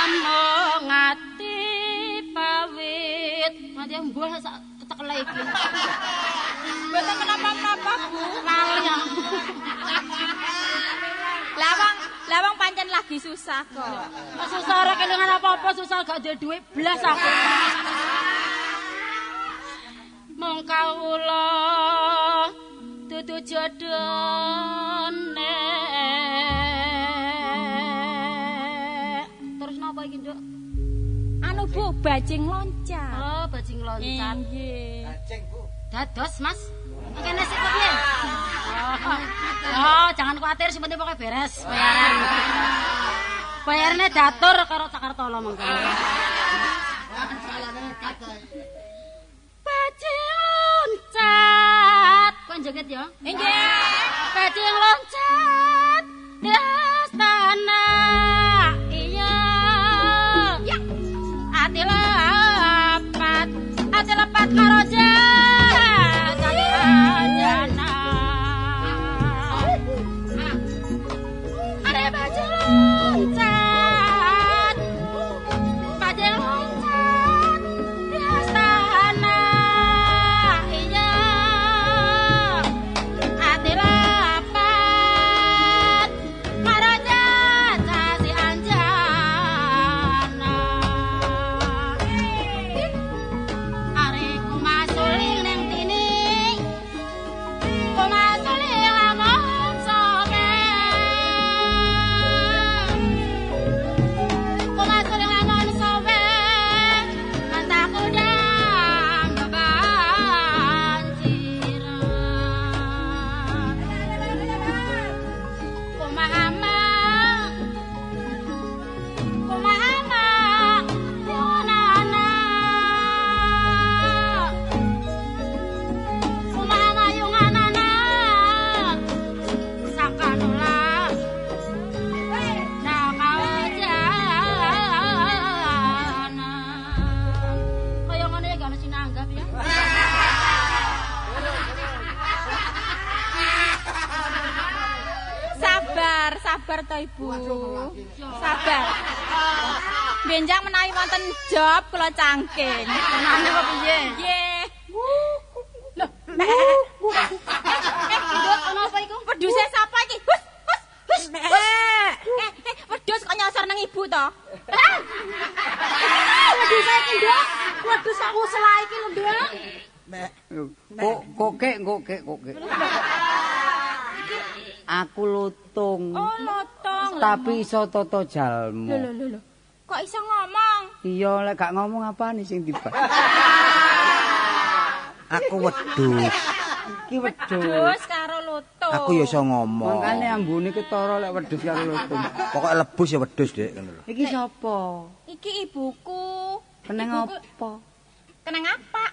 Among ati pawit. Mati mbuh sak ketekle iki. Mboten menapa-menapa, Bu. Lali aku. Lawang, lawang pancen lagi susah kok. Susah ora kelingan apa-apa, susah gak duwe duit blas aku. Mong kawula dudu jodone terus napa Eh, iki Cuk
Anu Bu, bajing loncat.
oh bajing loncat
Inggih.
dados Mas kene sik kok piye oh jangan khawatir sing penting pokoke beres bayaran bayarnya datur karo Jakarta lo mengko Bajing loncat. Kok joget ya? Nggih. Bajing loncat. Das tanah iya. Ya. Ati lepat. Ati lepat karo jana. Ada bajing loncat. Bajing loncat. Di astana. Iya. Ati lapat. Maraja jasi anjana. Areku masuling neng tini. Kumasuling lamun sobek. Kumasuk ning lamun sobek, mantah kudang kebanjiran. Kumaha mak, kumaha mak, yunana. Kumaha mak, yunganana, sakanulah nama wajana kaya ngono ya gak ono sinanggap ya
Sabar, sabar to Ibu. Sabar. Benjang menawi wonten job kula cangking.
anane kok piye
Nggih. Eh,
ndut ono apa iku
Wedhuse sapa iki? Hus, hus, hus. hus. Eh, eh, wedhus kok nyosor nang ibu to? Ah.
wedhus iki nduk wedhus sak uslah iki lho nduk
Kok kokek kokek kokek. Aku lutung,
Oh, lotong.
tapi iso
Lho,
tata
lho,
jalmu.
lho, lho. Kok iso ngomong?
Iya lek gak ngomong apane sing tiba.
Aku wedhus.
Iki wedhus.
Wedhus karo lutung.
Aku ya iso ngomong.
Mangkane ambune ketara lek wedhus karo
Oh.
lutung.
Pokoke lebus ya wedhus, Dik, ngono lho.
Iki sapa?
Iki ibuku.
Keneng
Ibuku-
apa?
Keneng apa?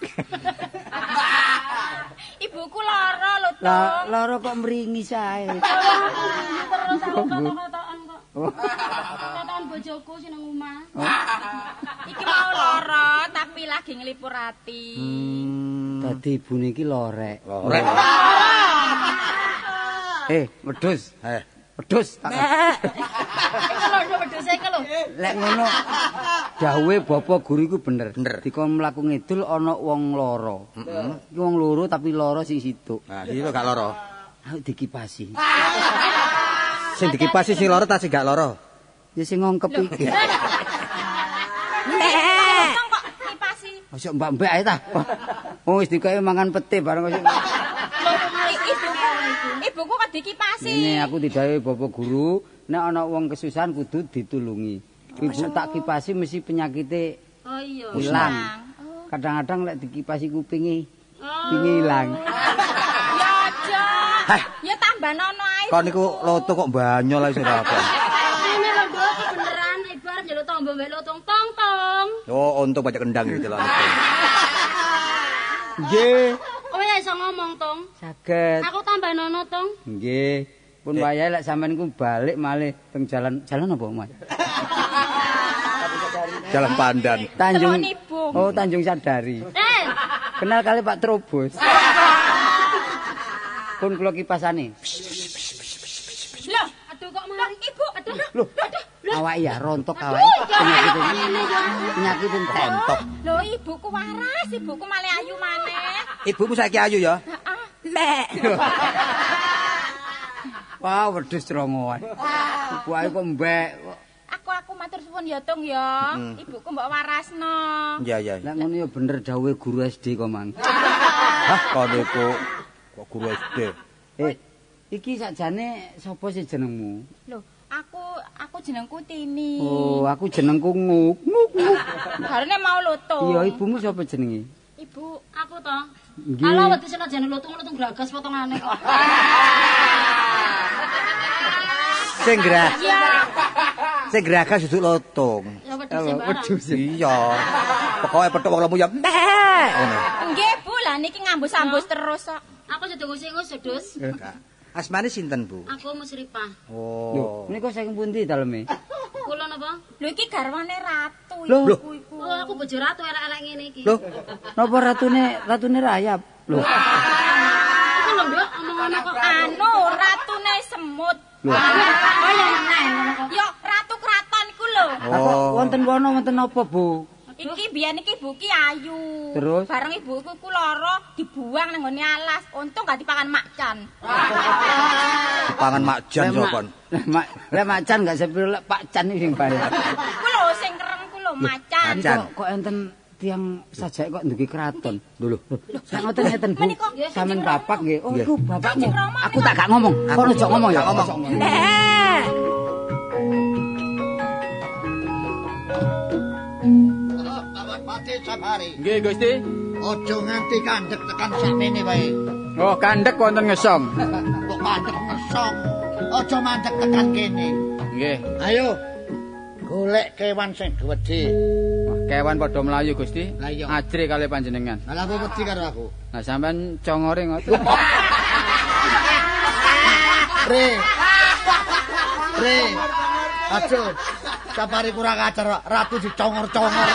Ibuku lara lutung.
Lah lara kok mringi sae.
terus aku kotok-kotokan kok
Oh.
kotokan bojoku sing nang omah
Iki mau lara tapi lagi ngelipur ati.
Hmm. Dadi ibune iki lorek.
Lorek.
Eh, wedhus.
Eh,
Wedhus. tak-
iki lho nduk wedhus e iki lho
Eh.
Lek ngono dawuhe Bapak Guru iku bener.
Bener.
Dikon mlaku ngidul ana wong loro. Heeh. Iki wong loro tapi loro sing situk.
nah iki lho gak lara.
Aku dikipasi.
Sing dikipasi sing lara ta sing gak lara?
Ya sing ngongkep iki.
Lutung kok ngipasi.
Masuk mbak-mbak ae ta. Wong wis dikoe mangan pete bareng kok.
I- Ibuku, ibuku kok dikipasi.
Ini aku didhawuhi Bapak Guru, nek ana wong kesusahan kudu ditulungi. Ibu tak kipasi mesti penyakite
oh iya
ilang. Kadang-kadang lek dikipasi kupinge pinge ilang.
Ya aja. Ya tambah nono ae.
Kon niku loto kok banyol ae sira apa.
ini lho nduk iki beneran ibar njaluk tombo mbek lutung tong tong
Oh, untung banyak kendang gitu lho.
Nggih,
kowe ya Oh, iso ngomong tong
saged.
aku tambah nono tong
Nggih. Pun wayahe lek sampean ku balik malih teng jalan jalan apa, Mas?
Jalan pandan.
Tanjung
Telonibung.
Oh, Tanjung Sadari.
eh
Kenal kali Pak Trubus. Pun kula kipasane.
Lho, aduh kok mari ibu. Aduh. Lho, aduh.
Awak ya rontok awake. Penyakit penyakit enten.
Rontok.
Lho, ibuku waras, ibuku malah ayu maneh.
Ibumu saiki ayu ya?
Wah, wedhus trongoan. Ibu ae kok mbek.
Aku aku matur suwun ya, Tung ya.
Hmm.
Ibuku mbok warasno.
Iya, iya. iya.
Lah ngono ya bener dawuhe guru SD kok, Mang.
Hah, kon niku kok guru SD.
Eh, iki sakjane sapa sih jenengmu?
Loh, aku aku jenengku Tini.
Oh, aku jenengku Nguk. Nguk. nguk.
Barene mau luto.
Iya, ibumu sapa jenenge?
Ibu, aku to.
Nggih.
Ala wedi senajan lutung lutung gragas potongane kok.
Sing gerah. Sing geragas duduk lotong.
Ya wedhus sembarang.
Iya. Pokoke petuk wong lemu ya. meh. Ngono.
Nggih, Bu, lah niki ngambus-ambus terus kok.
Aku sedek ngusik ngusik dus.
Asmane sinten, Bu?
Aku musripah.
Lho,
Oh.
menika saking pundi daleme?
Kula napa?
Lho iki garwane ratu
Loh.
iku iku.
Oh, aku bojo ratu elek-elek ngene iki.
Lho, napa ratune ratune rayap? Lho,
Iku lho, Mbok, omongane kok
Anu, ratune semut. Ah.
lho.
Oh ya meneh ngono kok.
Yo, ratu keraton iku lho.
Lah kok
Oh,
wonten kono wonten apa, Bu?
Iki biyen iki ibu ki ayu.
Terus?
bareng ibuku iku lara dibuang nang ngone alas. Untung gak dipangan macan.
Pangan
Lah,
makjan
Mak-
sopon.
Lah, Mak, lah macan gak sepiro lek Pak Can iki sing bayar.
Iku lho sing kereng ku lho macan.
macan.
Kok kok enten tiang sajake kok ndugi keraton. Lho lho. Sak ngoten ngeten Bu.
Menika-
Sampeyan bapak nggih. Oh, iku bapakmu.
Kanjeng Rama
Aku tak gak ngomong. Kono ojo ngomong ya. Ojo ngomong.
Awak mati sabari.
Nggih, Gusti.
Ojo nganti kandek tekan sakmene wae.
Oh, kandhek wonten ngesom.
Kok mandek ngesong. Ojo mandek tekan kene.
Nggih.
Ayo. Golek kewan sing gedhe.
Wah, Kewan padha mlayu, Gusti.
Lah, iya.
Ajri kali panjenengan.
Lah apa wedi karo aku?
Lah sampean congore ngoten.
Re. Re. Aduh. Sabari kurang ajar ratu dicongor-congor.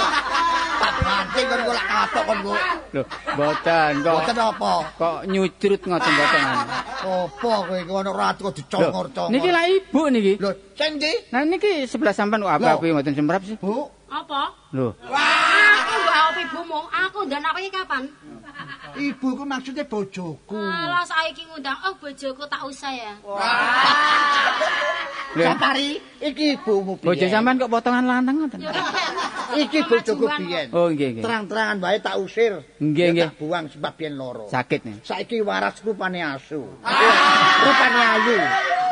Tak banting kon golek katok kon kok.
Lho, mboten kok
Boten apa?
kok nyujrut ngoten mboten. anu.
Apa kowe iki ana ratu kok
Lho,
dicongor-congor.
Niki lah ibu niki.
Lho, sing ndi?
Nah niki sebelah sampean kok apa-apa mboten semprap sih.
Bu,
Apa?
Lho,
Aku mbak opi bumu, aku ndang apa iki kapan?
ibu ku maksudnya bojoku.
Alah saiki ngundang oh bojoku tak usah ya.
lho.
Sapari, iki ibumu piye?
Bojo sampean kok potongan lanang ngoten.
iki bojoku biyen.
Oh, nggih nggih.
Terang-terangan wae tak usir.
Nggih, nggih.
Ya Tak buang sebab biyen loro.
Sakit nih.
Saiki waras rupane asu. rupane ayu.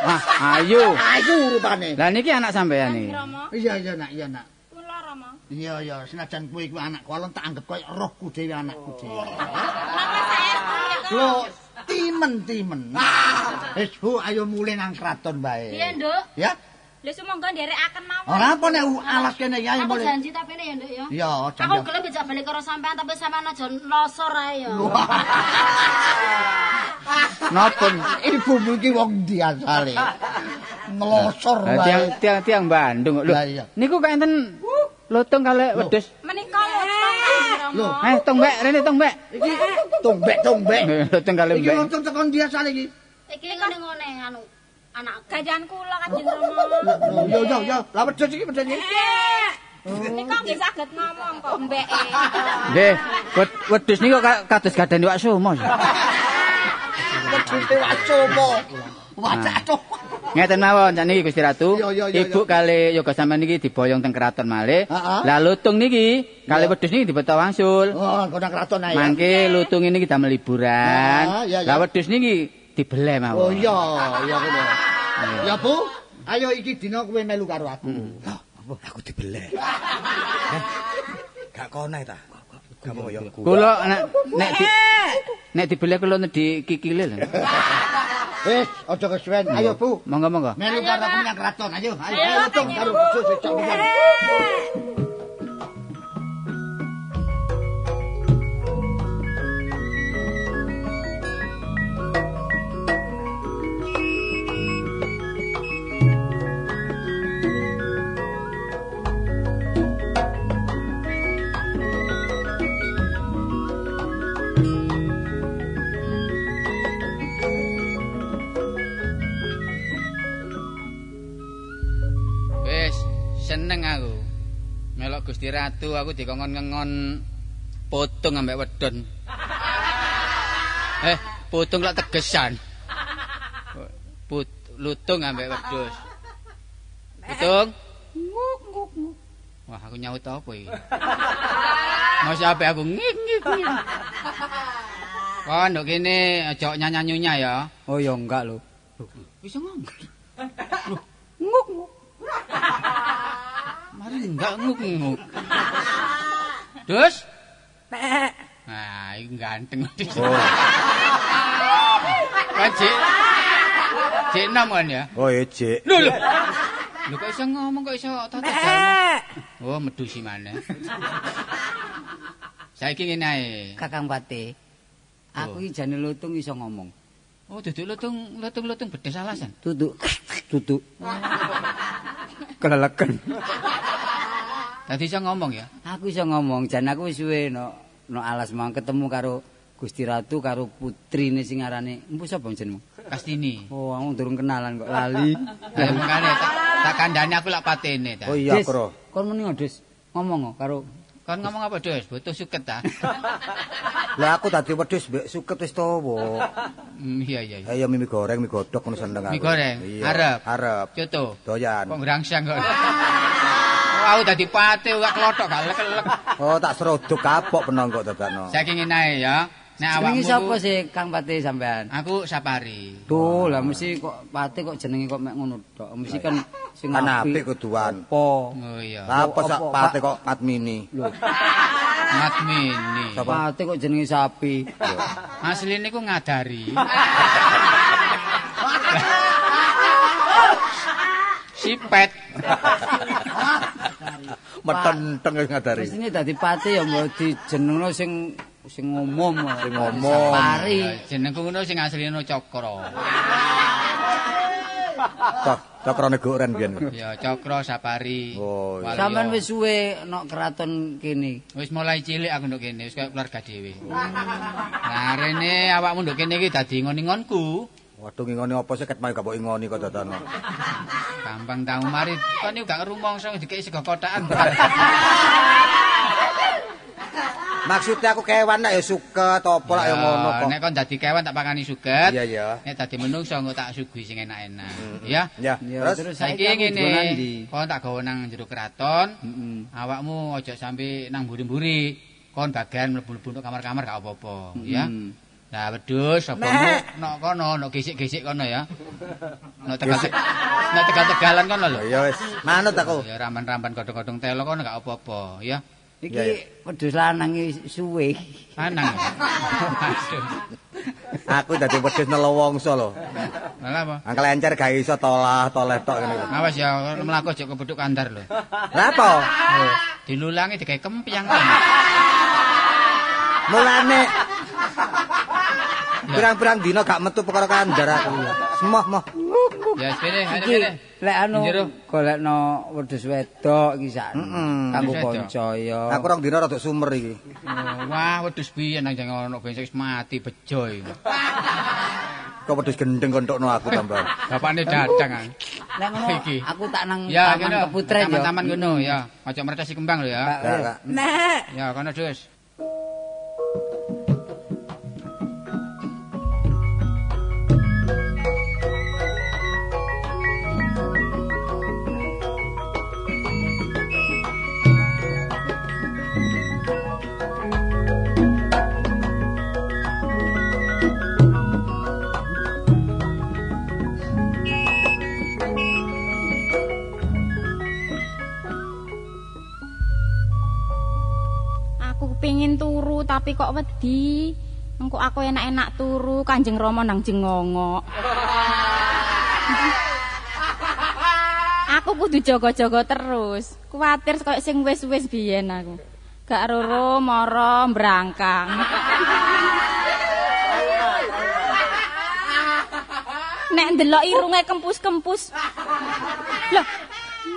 Wah, ayo.
Ayu rupane.
Lah niki anak sampean iki.
Rama,
Iya iya nak, iya nak.
kula Rama.
Iya iya, senajan kowe iku anakku, alon tak anggap koyo rohku dhewe anakku dhewe.
Rama saya
Lho, timen-timen. Wis Bu, ayo mulih nang kraton bae.
Iya, Nduk.
Ya.
Lho sumangga nderekaken mawon.
Ora apa nek u- alas kene ya ayo
Aku
mulih.
janji tapi ini ya nduk ya.
Ya,
Aku
jangan.
gelem dijak balik karo sampean tapi sampean aja nosor ae ya.
Nopun.
Ibumu iki wong ndi asale? Nglosor
Lah tiang
bae.
tiang tiang Bandung kok. Lho.
Lah, iya.
Niku kok enten lotong kali wedhus.
Menika lutang Kanjeng Rama.
Eh, tongbek rene tongbek.
Iki tombek-tombek.
Lotong kali
Iki
mbek.
untung tekan dia sale iki.
Iki ngene-ngene anu anakku.
Gajan kula Kanjeng Rama.
Lho, Yo yo yo, lah wedhus iki wedhus iki.
Eh. Menika nggih saged ngomong kok mbeke.
Nggih. wed- Wedhus niku ka- kados gadane wak sumo.
Wedhus wacomo. Wacato.
Ngeten mawon sakniki Gusti Ratu.
Iya, iya, iya,
Ibu
iya.
kali yoga sampean niki diboyong teng kraton malih.
Ha-ha.
Lah lutung niki kali wedhus niki dibeto wangsul.
Oh, kena kraton ae.
Mangke lutung ini kita meliburan.
Ah, iya, iya.
Lah wedhus niki dibeleh mawon.
Oh iya, iya kene. Ya Bu, ayo iki dina kowe melu karo aku.
Hmm.
Aku dibeleh. Gak konai ta. Gak mau ya.
Kula nek nek di, nek dibeleh kula nedhi kikile lho.
Wis, aja kesuwen. Ayo Bu.
Monggo-monggo.
Melu karo aku nang kraton, ayo. Ayo,
Ayo,
ayo tung
ayo,
karo
Bu.
wedhus cocok pisan.
Wis, seneng aku. Melok Gusti Ratu aku dikongkon-ngengon potong ambek wedon. Eh, potong lak tegesan. Put, lutung ambek wedhus. Lutung. Wah, aku nyaut apa iki? Mas ape aku ngik ngik ngik. Kon nduk kene aja nyanyanyunya ya.
Oh ya enggak lho.
Bisa ngomong.
Nguk nguk.
Mari enggak nguk-nguk. Dus? Nah, iki ganteng. Oh. Kan Cik. Cik nom kan ya?
Oh, iya, Cik.
Lho lho. Lho kok iso ngomong kok iso tata jalan. Oh, medusi maneh. Saiki ngene ae.
Kakang Pate. Aku iki jane lutung iso ngomong.
Oh, duduk lutung, lutung-lutung bedes alasan.
Duduk. Duduk. Keleleken.
Tadi iso ngomong ya.
Aku iso ngomong, jan aku wis suwe no, no alas mang ketemu karo Gusti Ratu karo putrine sing aranane. Empu sapa jenengmu?
Kastini.
Oh, aku durung kenalan kok lali.
Lah mengkane tak, tak kandhani aku lak patene ta.
Oh iya,
Dis,
Kro.
Kon muni kok, Dis. Ngomong kok karo
Kon ngomong apa, Dus? Butuh suket ta.
Lah aku tadi wedhus mbek suket wis tuwa.
Hmm, iya iya. iya.
Ayo mie goreng, mie godhog ngono seneng aku.
Mie goreng,
Iya,
arep.
Arep.
Coto.
Doyan.
Kok ngrangsang kok. Aku dadi pate gak klothok gak lek-lek.
Oh, tak serodok kapok penangkok dadakno.
Saiki ngene ae ya.
Jenenge
Nek awakmu
sapa sih Kang Pate sampean?
Aku Sapari.
Duh, lah mesti kok Pate kok jenenge kok mek ngono tok. Mesti kan sing
Kan apik kuduan.
Apa?
Oh iya.
Ah.
Lah, Apa sak
Apa,
pate kok patmini?
Matmini.
Sapa?
Pate kok jenenge sapi.
Asline ku ngadari. Sipet.
Metenteng wis ngadari.
Mestine dadi Pate ya mbok dijenengno sing sing umum.
Sing ngomong.
Sapari.
Jenengku ngono sing asline Cokro.
Cok, cokrone goren biyen.
Ya Cokro Sapari.
Oh,
Walio.
iya.
Sampeyan wis suwe nok keraton kene.
Wis mulai cilik aku nduk kene, wis kaya keluarga dhewe. Nah, rene awakmu nduk kene iki dadi ngon-ngonku.
Waduh ngingoni apa sih ket mau gak mbok ingoni kok dadakno.
Gampang tau mari. Kon iki gak rumangsa dikeki sego kotakan.
Maksudnya aku kewan lah ya suket apa lah ya ngono
Ya,
kok.
Nek kon dadi kewan tak pakani suget.
Iya, iya.
Nek dadi menungso engko tak suguhi sing enak-enak. Ya.
Ya,
Ya, terus
terus
Saiki
saiki aku dolan
ngene,
ndi?
kon tak gawe nang jero keraton.
Heeh.
Awakmu aja sampe nang mburi-mburi. Kon bagian mlebu-mlebu untuk kamar-kamar gak apa-apa, ya.
Mm.
Nah, wedhus sapa nuk nok kono, nok gesik-gesik kono ya. Nok tegal-tegal. Nok tegal-tegalan kono lho.
ya wis manut aku.
Ya ramban-ramban godhong-godhong telo kono gak apa-apa, ya.
Iki
Ya, ya.
wedhus lanang iki suwe.
Panang. Waduh.
Aku dadi wedhus nelowongso lho.
Malah apa?
Angkel encer gak iso tolah toleh tok ngene.
Awas ya, mlaku aja kebethuk kandar lho.
Lah apa?
Dilulangi digawe kempyang.
Mulane Pirang-pirang dina gak metu perkara kandar aku. Semoh moh.
Ya, sepene, ayo
Iki
sepene.
lek anu
Njero.
golekno wedhus wedok iki sak.
Mm-mm.
Kanggo
Wedhus wedok.
kanca ya.
Aku rong dina rada sumer iki.
Oh, Wah, wedhus piye nang jangan ono gengsek wis mati bejo iku.
Kok wedhus gendeng kontokno aku tambah.
Bapakne dadang. ah.
Lek ngono
Iki.
aku tak nang
Ya,
taman
ngono.
keputren ya.
Taman-taman ngono ya. Aja mertesi kembang lho ya.
Gak, gak.
Ya, kono dus.
Aku pengin turu tapi kok wedi. Engko aku enak-enak turu Kanjeng Rama nang jengongok. aku kudu jaga-jaga terus. Kuwatir koyo sing wis-wis biyen aku. Gak roro moro mbrangkang. Nek ndelok irunge kempus-kempus. Loh,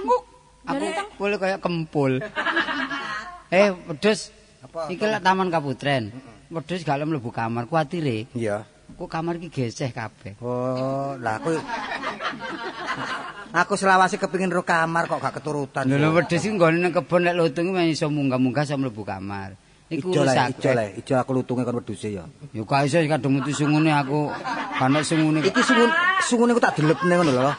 nguk.
Aku
Dari teng-
boleh kaya kempul. eh, wedhus. Iki lek taman kaputren. Wedhus gak mlebu kamar, kuatire.
Iya.
Aku kamar iki geseh kabeh.
Oh, lah aku Aku selawase kepingin ro kamar kok gak keturutan.
Lho lho, wedhus iki nggone nang kebon lek lutung iki iso munggah-munggah iso mlebu kamar. Iku
Ijo
rusak.
lah, ijo lah, ijo aku lutunge kon wedhuse ya.
Ya gak iso kadung metu sungune aku. Kan sungune
Iki sungun sungune ku tak delepne ngono lho.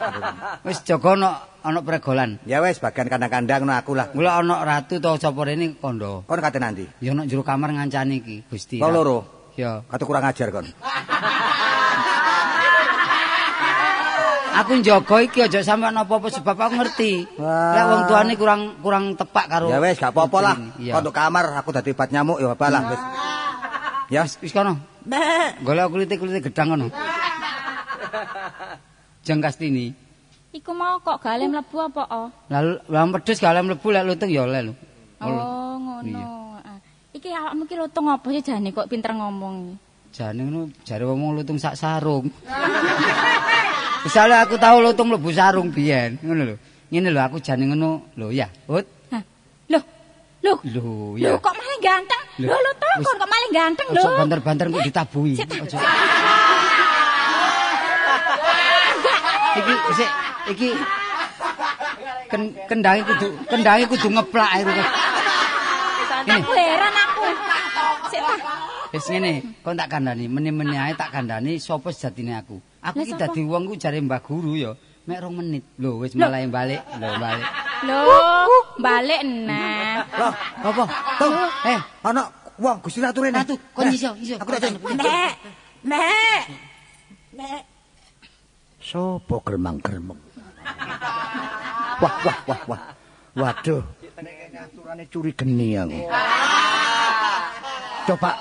wis jaga ana ana pregolan.
Ya wes bagian kandang-kandang no aku lah.
Mula ana ratu ta sapa rene kondo.
Kon kate nanti.
Ya ana jero kamar ngancani iki, Gusti.
Kau loro.
Ya.
Kata kurang ajar kon.
Aku njogo iki aja sampean apa-apa sebab aku ngerti.
Wah.
Lah wong tuane kurang kurang tepak karo.
Ya wes gak apa-apa lah.
Oh. Iya. Ah.
Kau untuk kamar aku dadi bat nyamuk ya apa lah wis. Ya
wis kono. Golek kulite-kulite gedang kono. Jeng Kastini.
Iku mau kok gale mlebu apa o?
Lalu lalu pedes gak oleh mlebu lek lutung ya oleh lho.
Oh,
Iya.
ngono. Ah, Iki awakmu ki lutung apa sih jane kok pinter ngomong?
Jane ngono jare wong lutung sak sarung. Misalnya aku tahu lutung mlebu sarung biyen, ngono lho. Ngene lho aku jane ngono lho ya, Ut.
Loh, loh.
Lho
Lho
ya.
kok malah ganteng?
Lho.
Lho lutung
Wis.
kon kok malah ganteng lho.
Ojo banter-banter kok ditabui. Ojo. Iki sik iki ken, kendange kudu kendange kudu ngeplak aku.
Aku heran aku. Sik ta.
Wis ngene, kon tak kandhani, meni-meni ae tak kandhani sapa sejatine aku. Aku
Lah,
iki
sapa?
dadi wong ku jare Mbah Guru ya, mek rong menit. Lho wis
Loh.
mulai balik, lho balik.
Lho, balik nah.
Loh,
apa? Tuh, eh,
ana wong Gusti Ratu rene. Eh,
Ratu, kon iso, iso.
Aku tak
Nek. Nek. Nek.
Sopo geremang-geremeng? Wah, wah, wah, wah. Waduh. Aturane curi geni aku. Coba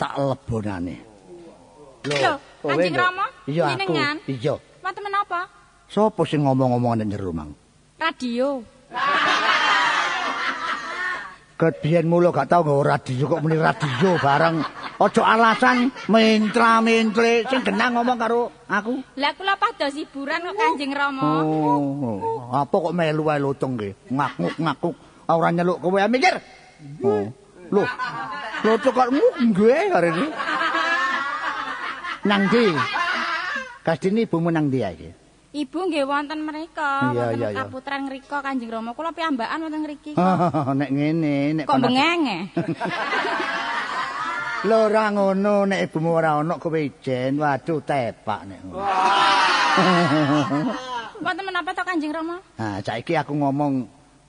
tak lebonane.
Lho, Kanjeng Rama,
Iya aku.
jenengan?
Iya.
Mata menapa?
Sopo sing ngomong-ngomong nek jero mang?
Radio.
Ket biyen mulo gak tau nggo radio kok muni radio bareng. Ojo alasan mentra-mentre sing genah ngomong karo aku.
Lah kula padha hiburan kok Kanjeng Rama.
Oh, apa kok melu wae lutung ki? Ngakuk-ngakuk ora nyeluk kowe ae mikir. Oh. Lho, lutung kok nguk nggae kare iki. Nang ndi? Kastini ibumu nang ndi iki?
Ibu nggih wonten
Iya,
mereka,
iya,
wonten
iya.
kaputren ngrika Kanjeng Rama. Kula piyambakan wonten ngriki.
nek ngene, nek
Kok
kon-
bengenge?
Lho ora ngono, nek ibumu ora ono kowe ijen, waduh tepak nek. ngono.
Wonten menapa to Kanjeng Rama?
Nah, saiki aku ngomong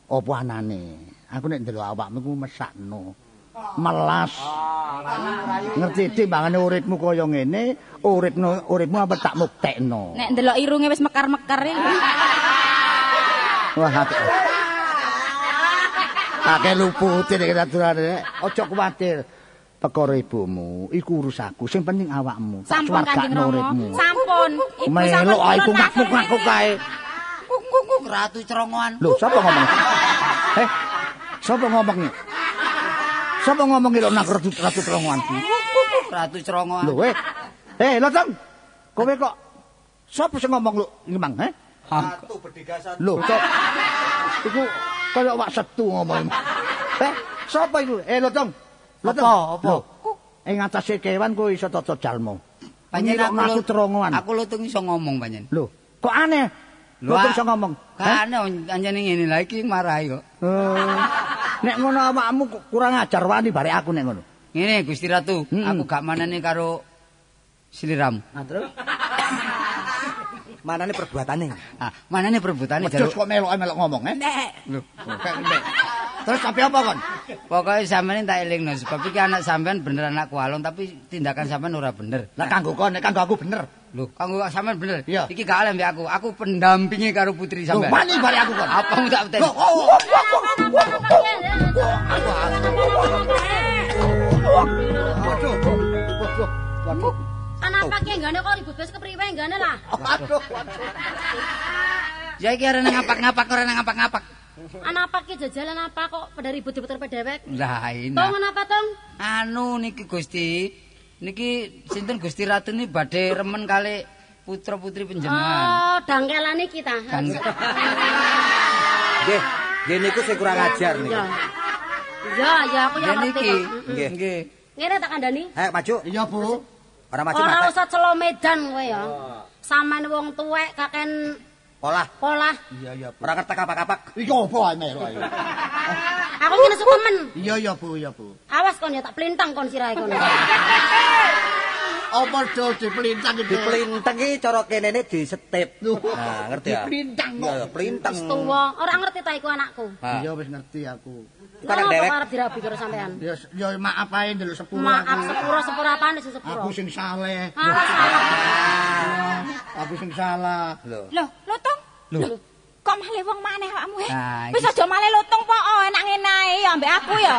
apa anane. Aku nek ndelok awakmu ku mesakno. Melas. Ngerti timbangane uripmu kaya ngene, uripno uripmu apa tak muktekno.
Nek ndelok irunge wis mekar-mekar iki.
Wah, aku- akeh lupute nek aturane. Aja kuwatir. Perkara ibumu iku urus aku, sing penting awakmu. Tak
Sampun Kanjeng
swargakno
Rama.
uripmu.
Sampun. Ibu sampun
Melok aku
turun langsung
ngakuk-ngakuk
ini.
kae.
Kukuk ratu cerongoan.
Lho, sapa ngomong? Eh, sapa ngomong? Sapa ngomong lho nak ratu ratu terowongan iki?
Ratu cerongoan.
Lho, eh. Eh, Lotong. Kowe kok sapa sing ngomong lho, Mang, eh?
Ratu
berdegasan. Lho, kok iku kaya wak setu ngomong. Eh, sapa iku? Eh, Lotong. Lotong.
Apa, apa?
Lho, Ing atase kewan kowe iso tata jalmu.
Panjen aku
aku
lu-
terowongan.
Aku lutung iso ngomong panjen.
Lho, kok aneh? Lotong iso ngomong. Hah?
Kan anjane ngene lha iki marahi kok.
Eh, Nek ngono awakmu ku- kurang ajar wani barek aku nek ngono.
Ngene Gusti Ratu, aku gak manane karo sliramu.
Nah, terus manane perbuatane?
Ah, manane perebutane
Terus
jaluk.
kok melok-melok ngomong, eh?
Lho,
Terus sampe apa kon?
pokoke sampean tak elingno sebab iki anak sampean bener anak kualon tapi tindakan sampean ora bener.
Lah kanggo kon, nek kanggo aku bener.
Lho, kanggo sampean bener.
Iya.
Iki gak alem mbek aku. Aku pendampingi karo putri
Lho,
sampean.
wani barek aku kon.
Apa mu tak
Lho,
teni?
oh, oh, oh, oh, oh, oh, oh. Waduh, waduh, waduh.
Kenapa ki nggane kok ribut wis kepriwe nggane lah.
Waduh, waduh.
Ya iki arene ngapak-ngapak ora ngapak-ngapak.
Kenapa ki jajalan apa kok pada ribut-ribut terpe dewek?
Lah,
Tong
enak.
kenapa tong?
Anu niki Gusti, niki sinten Gusti Ratu niki badhe remen kali putra-putri panjenengan.
Oh, dangkelane kita.
Kan
Nggih, nggih niku sing kurang ajar niku.
Ya. Ya, ya aku
ya
yang ngerti
niki.
kok.
Nggih. Nggih.
Ngene tak kandhani.
Ayo Eh, maju.
Iya, Bu.
Ora maju
Ora
mata.
usah celo medan kowe ya. Sampeyan wong tuwek kaken
Olah.
polah.
Iya, iya, Bu.
Ora kertek kapak-kapak.
Iya, apa ae melok ae.
Aku ngene sukemen.
Iya, iya, Bu, iya, Bu.
Awas kon ya tak plintang kon sirahe kon.
Apa do diplintang iki?
Diplintang iki cara kene ne disetip. Nah, ngerti ya?
Diplintang kok.
Iya, Plintang.
Wis tuwa, ora ngerti ta iku anakku.
Ah.
Iya wis ngerti aku.
Kan
Kenapa
dewek.
kok arep dirabi karo sampean?
Ya s- ya maaf ae ndelok sepuro
Maaf
aku.
sepuro sepuro apaan sih sepuro?
Aku sing saleh.
Malah salah.
Aku sing salah.
Lho, lotong. Lho. Kok malah wong maneh awakmu he?
Nah,
Wis aja malah lotong po, oh, enak ngene ae ya ambek aku ya.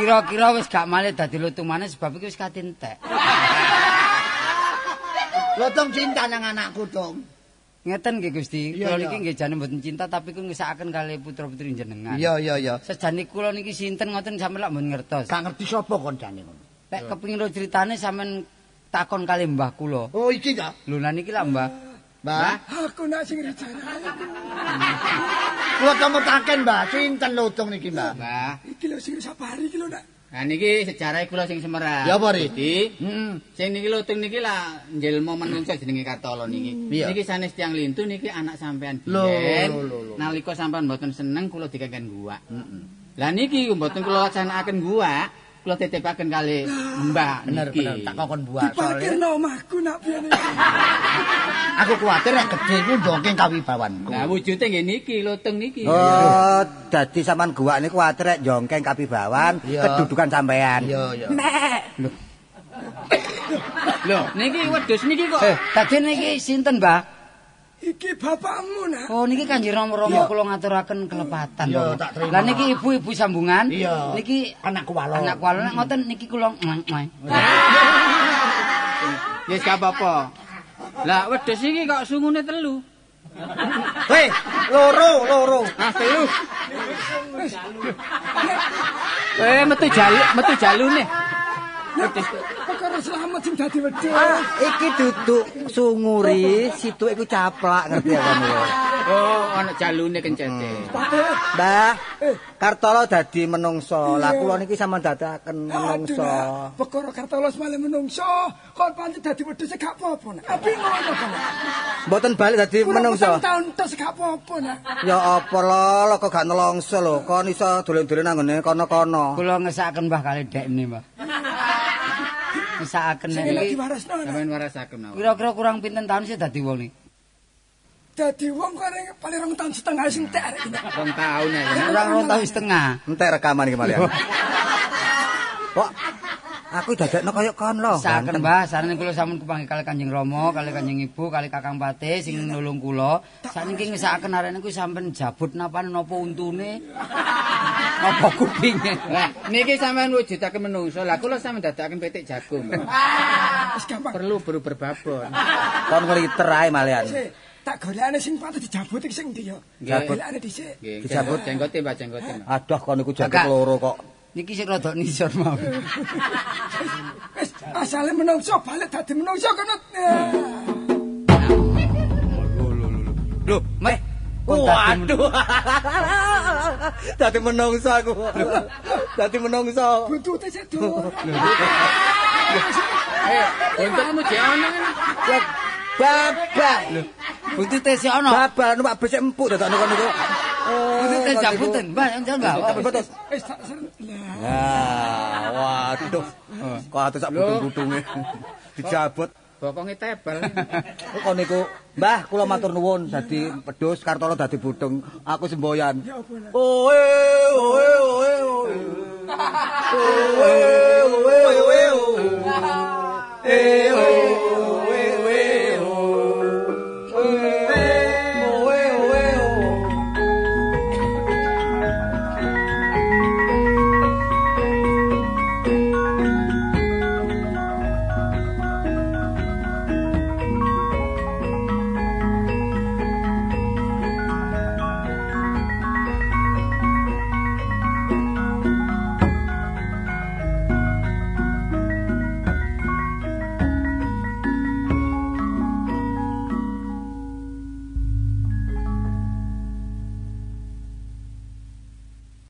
Kira-kira wis gak malih dadi lutumane sebab iki wis katintek.
Lotong cinta nang anakku, Dong.
Ngeten nggih Gusti,
Iya,
kula
iya.
niki nggih jane mboten cinta tapi kula ngesakaken kali putra-putri jenengan.
Iya, iya, iya.
Sejane kula niki sinten ngoten sampeyan lak mboten ngertos.
Gak ngerti sapa kon jane ngono.
Lek kepengin ro critane sampean takon kali Mbah kula.
Oh, iki ta?
Lho nah niki lak Mbah.
Mbah,
Aku nak sing rejaran.
kula temutaken, Mbah, sinten lotong niki, Mbah?
Mbah.
Iki lho sing sapari iki lho nak.
Nah niki sejarah kula sing semerang.
Ya, apa, Ri?
Gusti. Heeh. Sing niki lutung niki lah njelma manungsa jenenge Kartolo niki.
Iya.
Niki sanes tiang lintu niki anak sampean
Lho,
biyen.
lho, lho, lho.
Nalika sampean mboten seneng kula dikengken guwak. Heeh. Lah niki mboten kula laksanaken guwak, kula titipaken kali Mbak
Bener,
niki.
bener. Tak kokon buat.
Diparkir omahku nak biyen.
Aku kuwatir nek gedhe iku ndongeng kawibawanku.
Nah wujude nggih niki lutung niki.
Oh, dadi sampean guwak niku kuwatir rek jongkeng kapibawan
Iya.
kedudukan sampean.
Iya, iya.
Lho, niki wedhus niki kok
Eh, tadi niki sinten Mbah?
Iki bapakmu nak.
Oh niki Kanjeng Rama-rama kula ngaturaken kelepatan.
Iya,
Mbah.
tak terima.
Lah niki ibu-ibu sambungan.
Iya.
Niki
Anakku walon.
anak kula nek ngoten niki kula mweng-mweng.
ya yes, gak apa-apa. Lah wedhus iki kok sungune telu.
Weh, loro, loro.
Ah telu. Eh metu jalu metu jalune.
Kok karo selamat sing dadi wedhus.
Ah, iki duduk sunguri, situ iku caplak ngerti ya kamu.
Oh ana jalune
Hmm.
kencete.
Mbah, Kartolo dadi menungso. Lah kula niki sampean
Aduh,
dadaken menungso.
nak. Perkara kartolos malah menungso. Kon pancen dadi wedhus gak apa-apa nak.
Ah.
Abi ngono kok. nak.
Mboten balik dadi
Kurang
menungso.
tahun tes gak apa-apa nak.
Ya apa lho, kok gak nelongso lho. Kon iso dolen-dolen nang ngene kono-kono.
Kula ngesakaken Mbah kali dekne Mbah. Ngesakaken
Sing
niki.
lagi warasno nak.
Sampeyan warasaken mawon.
Kira-kira kurang pinten taun sih dadi wong iki?
Dadi wong kok arek paling rong tahun setengah sing tek arek iki, nak.
Rong taun ae.
Kurang rong taun setengah.
Entek rekaman iki malah. Kok aku dadekno koyo kon lho.
Oh,
Saken Mbah, sarene kula sampun kepanggil kali Kanjeng Rama, kali Kanjeng Ibu, kali Kakang Pate sing nulung kula. Sakniki ngesakaken arek niku sampean jabut napane napa untune. Napa kupinge.
Lah niki sampean wujudake menungso. Lah kula sampean dadakaken petik jagung.
Wis gampang.
Perlu perlu berbabon.
Kon ngliter ae malian.
Sik, tak golekane sing patut dijabut iki sing ndi yo.
Nggih.
Golekane dhisik.
Nggih,
Dijabut.
jenggot- jenggote Mbak jenggote. Mbak.
Aduh kon iku jangkep
Kakak.
loro kok.
Niki sik rada nisor mawon.
Wis asale menungso balik dadi menungso kono. Eh,
Lho, met.
Waduh. Dadi menungso aku. Dadi menungso.
Buntute sik durung.
Eh, untukmu jek ono.
Babak.
Buntute sik ana.
Babak numpak bis sik empuk dadakno kon niku.
Buntute jabutan, Mbah, jangan Mbah.
Betul.
Wis tak seret. Lah,
Ah, waduh. Kok atus sak budung-budunge dijabut.
Bokonge tebel.
Kok niku, Mbah, kula matur nuwun dadi pedus Kartolo dadi budeng, aku semboyan. Oe, oe, oe, oe. Oe, oe, oe. Eh, oe.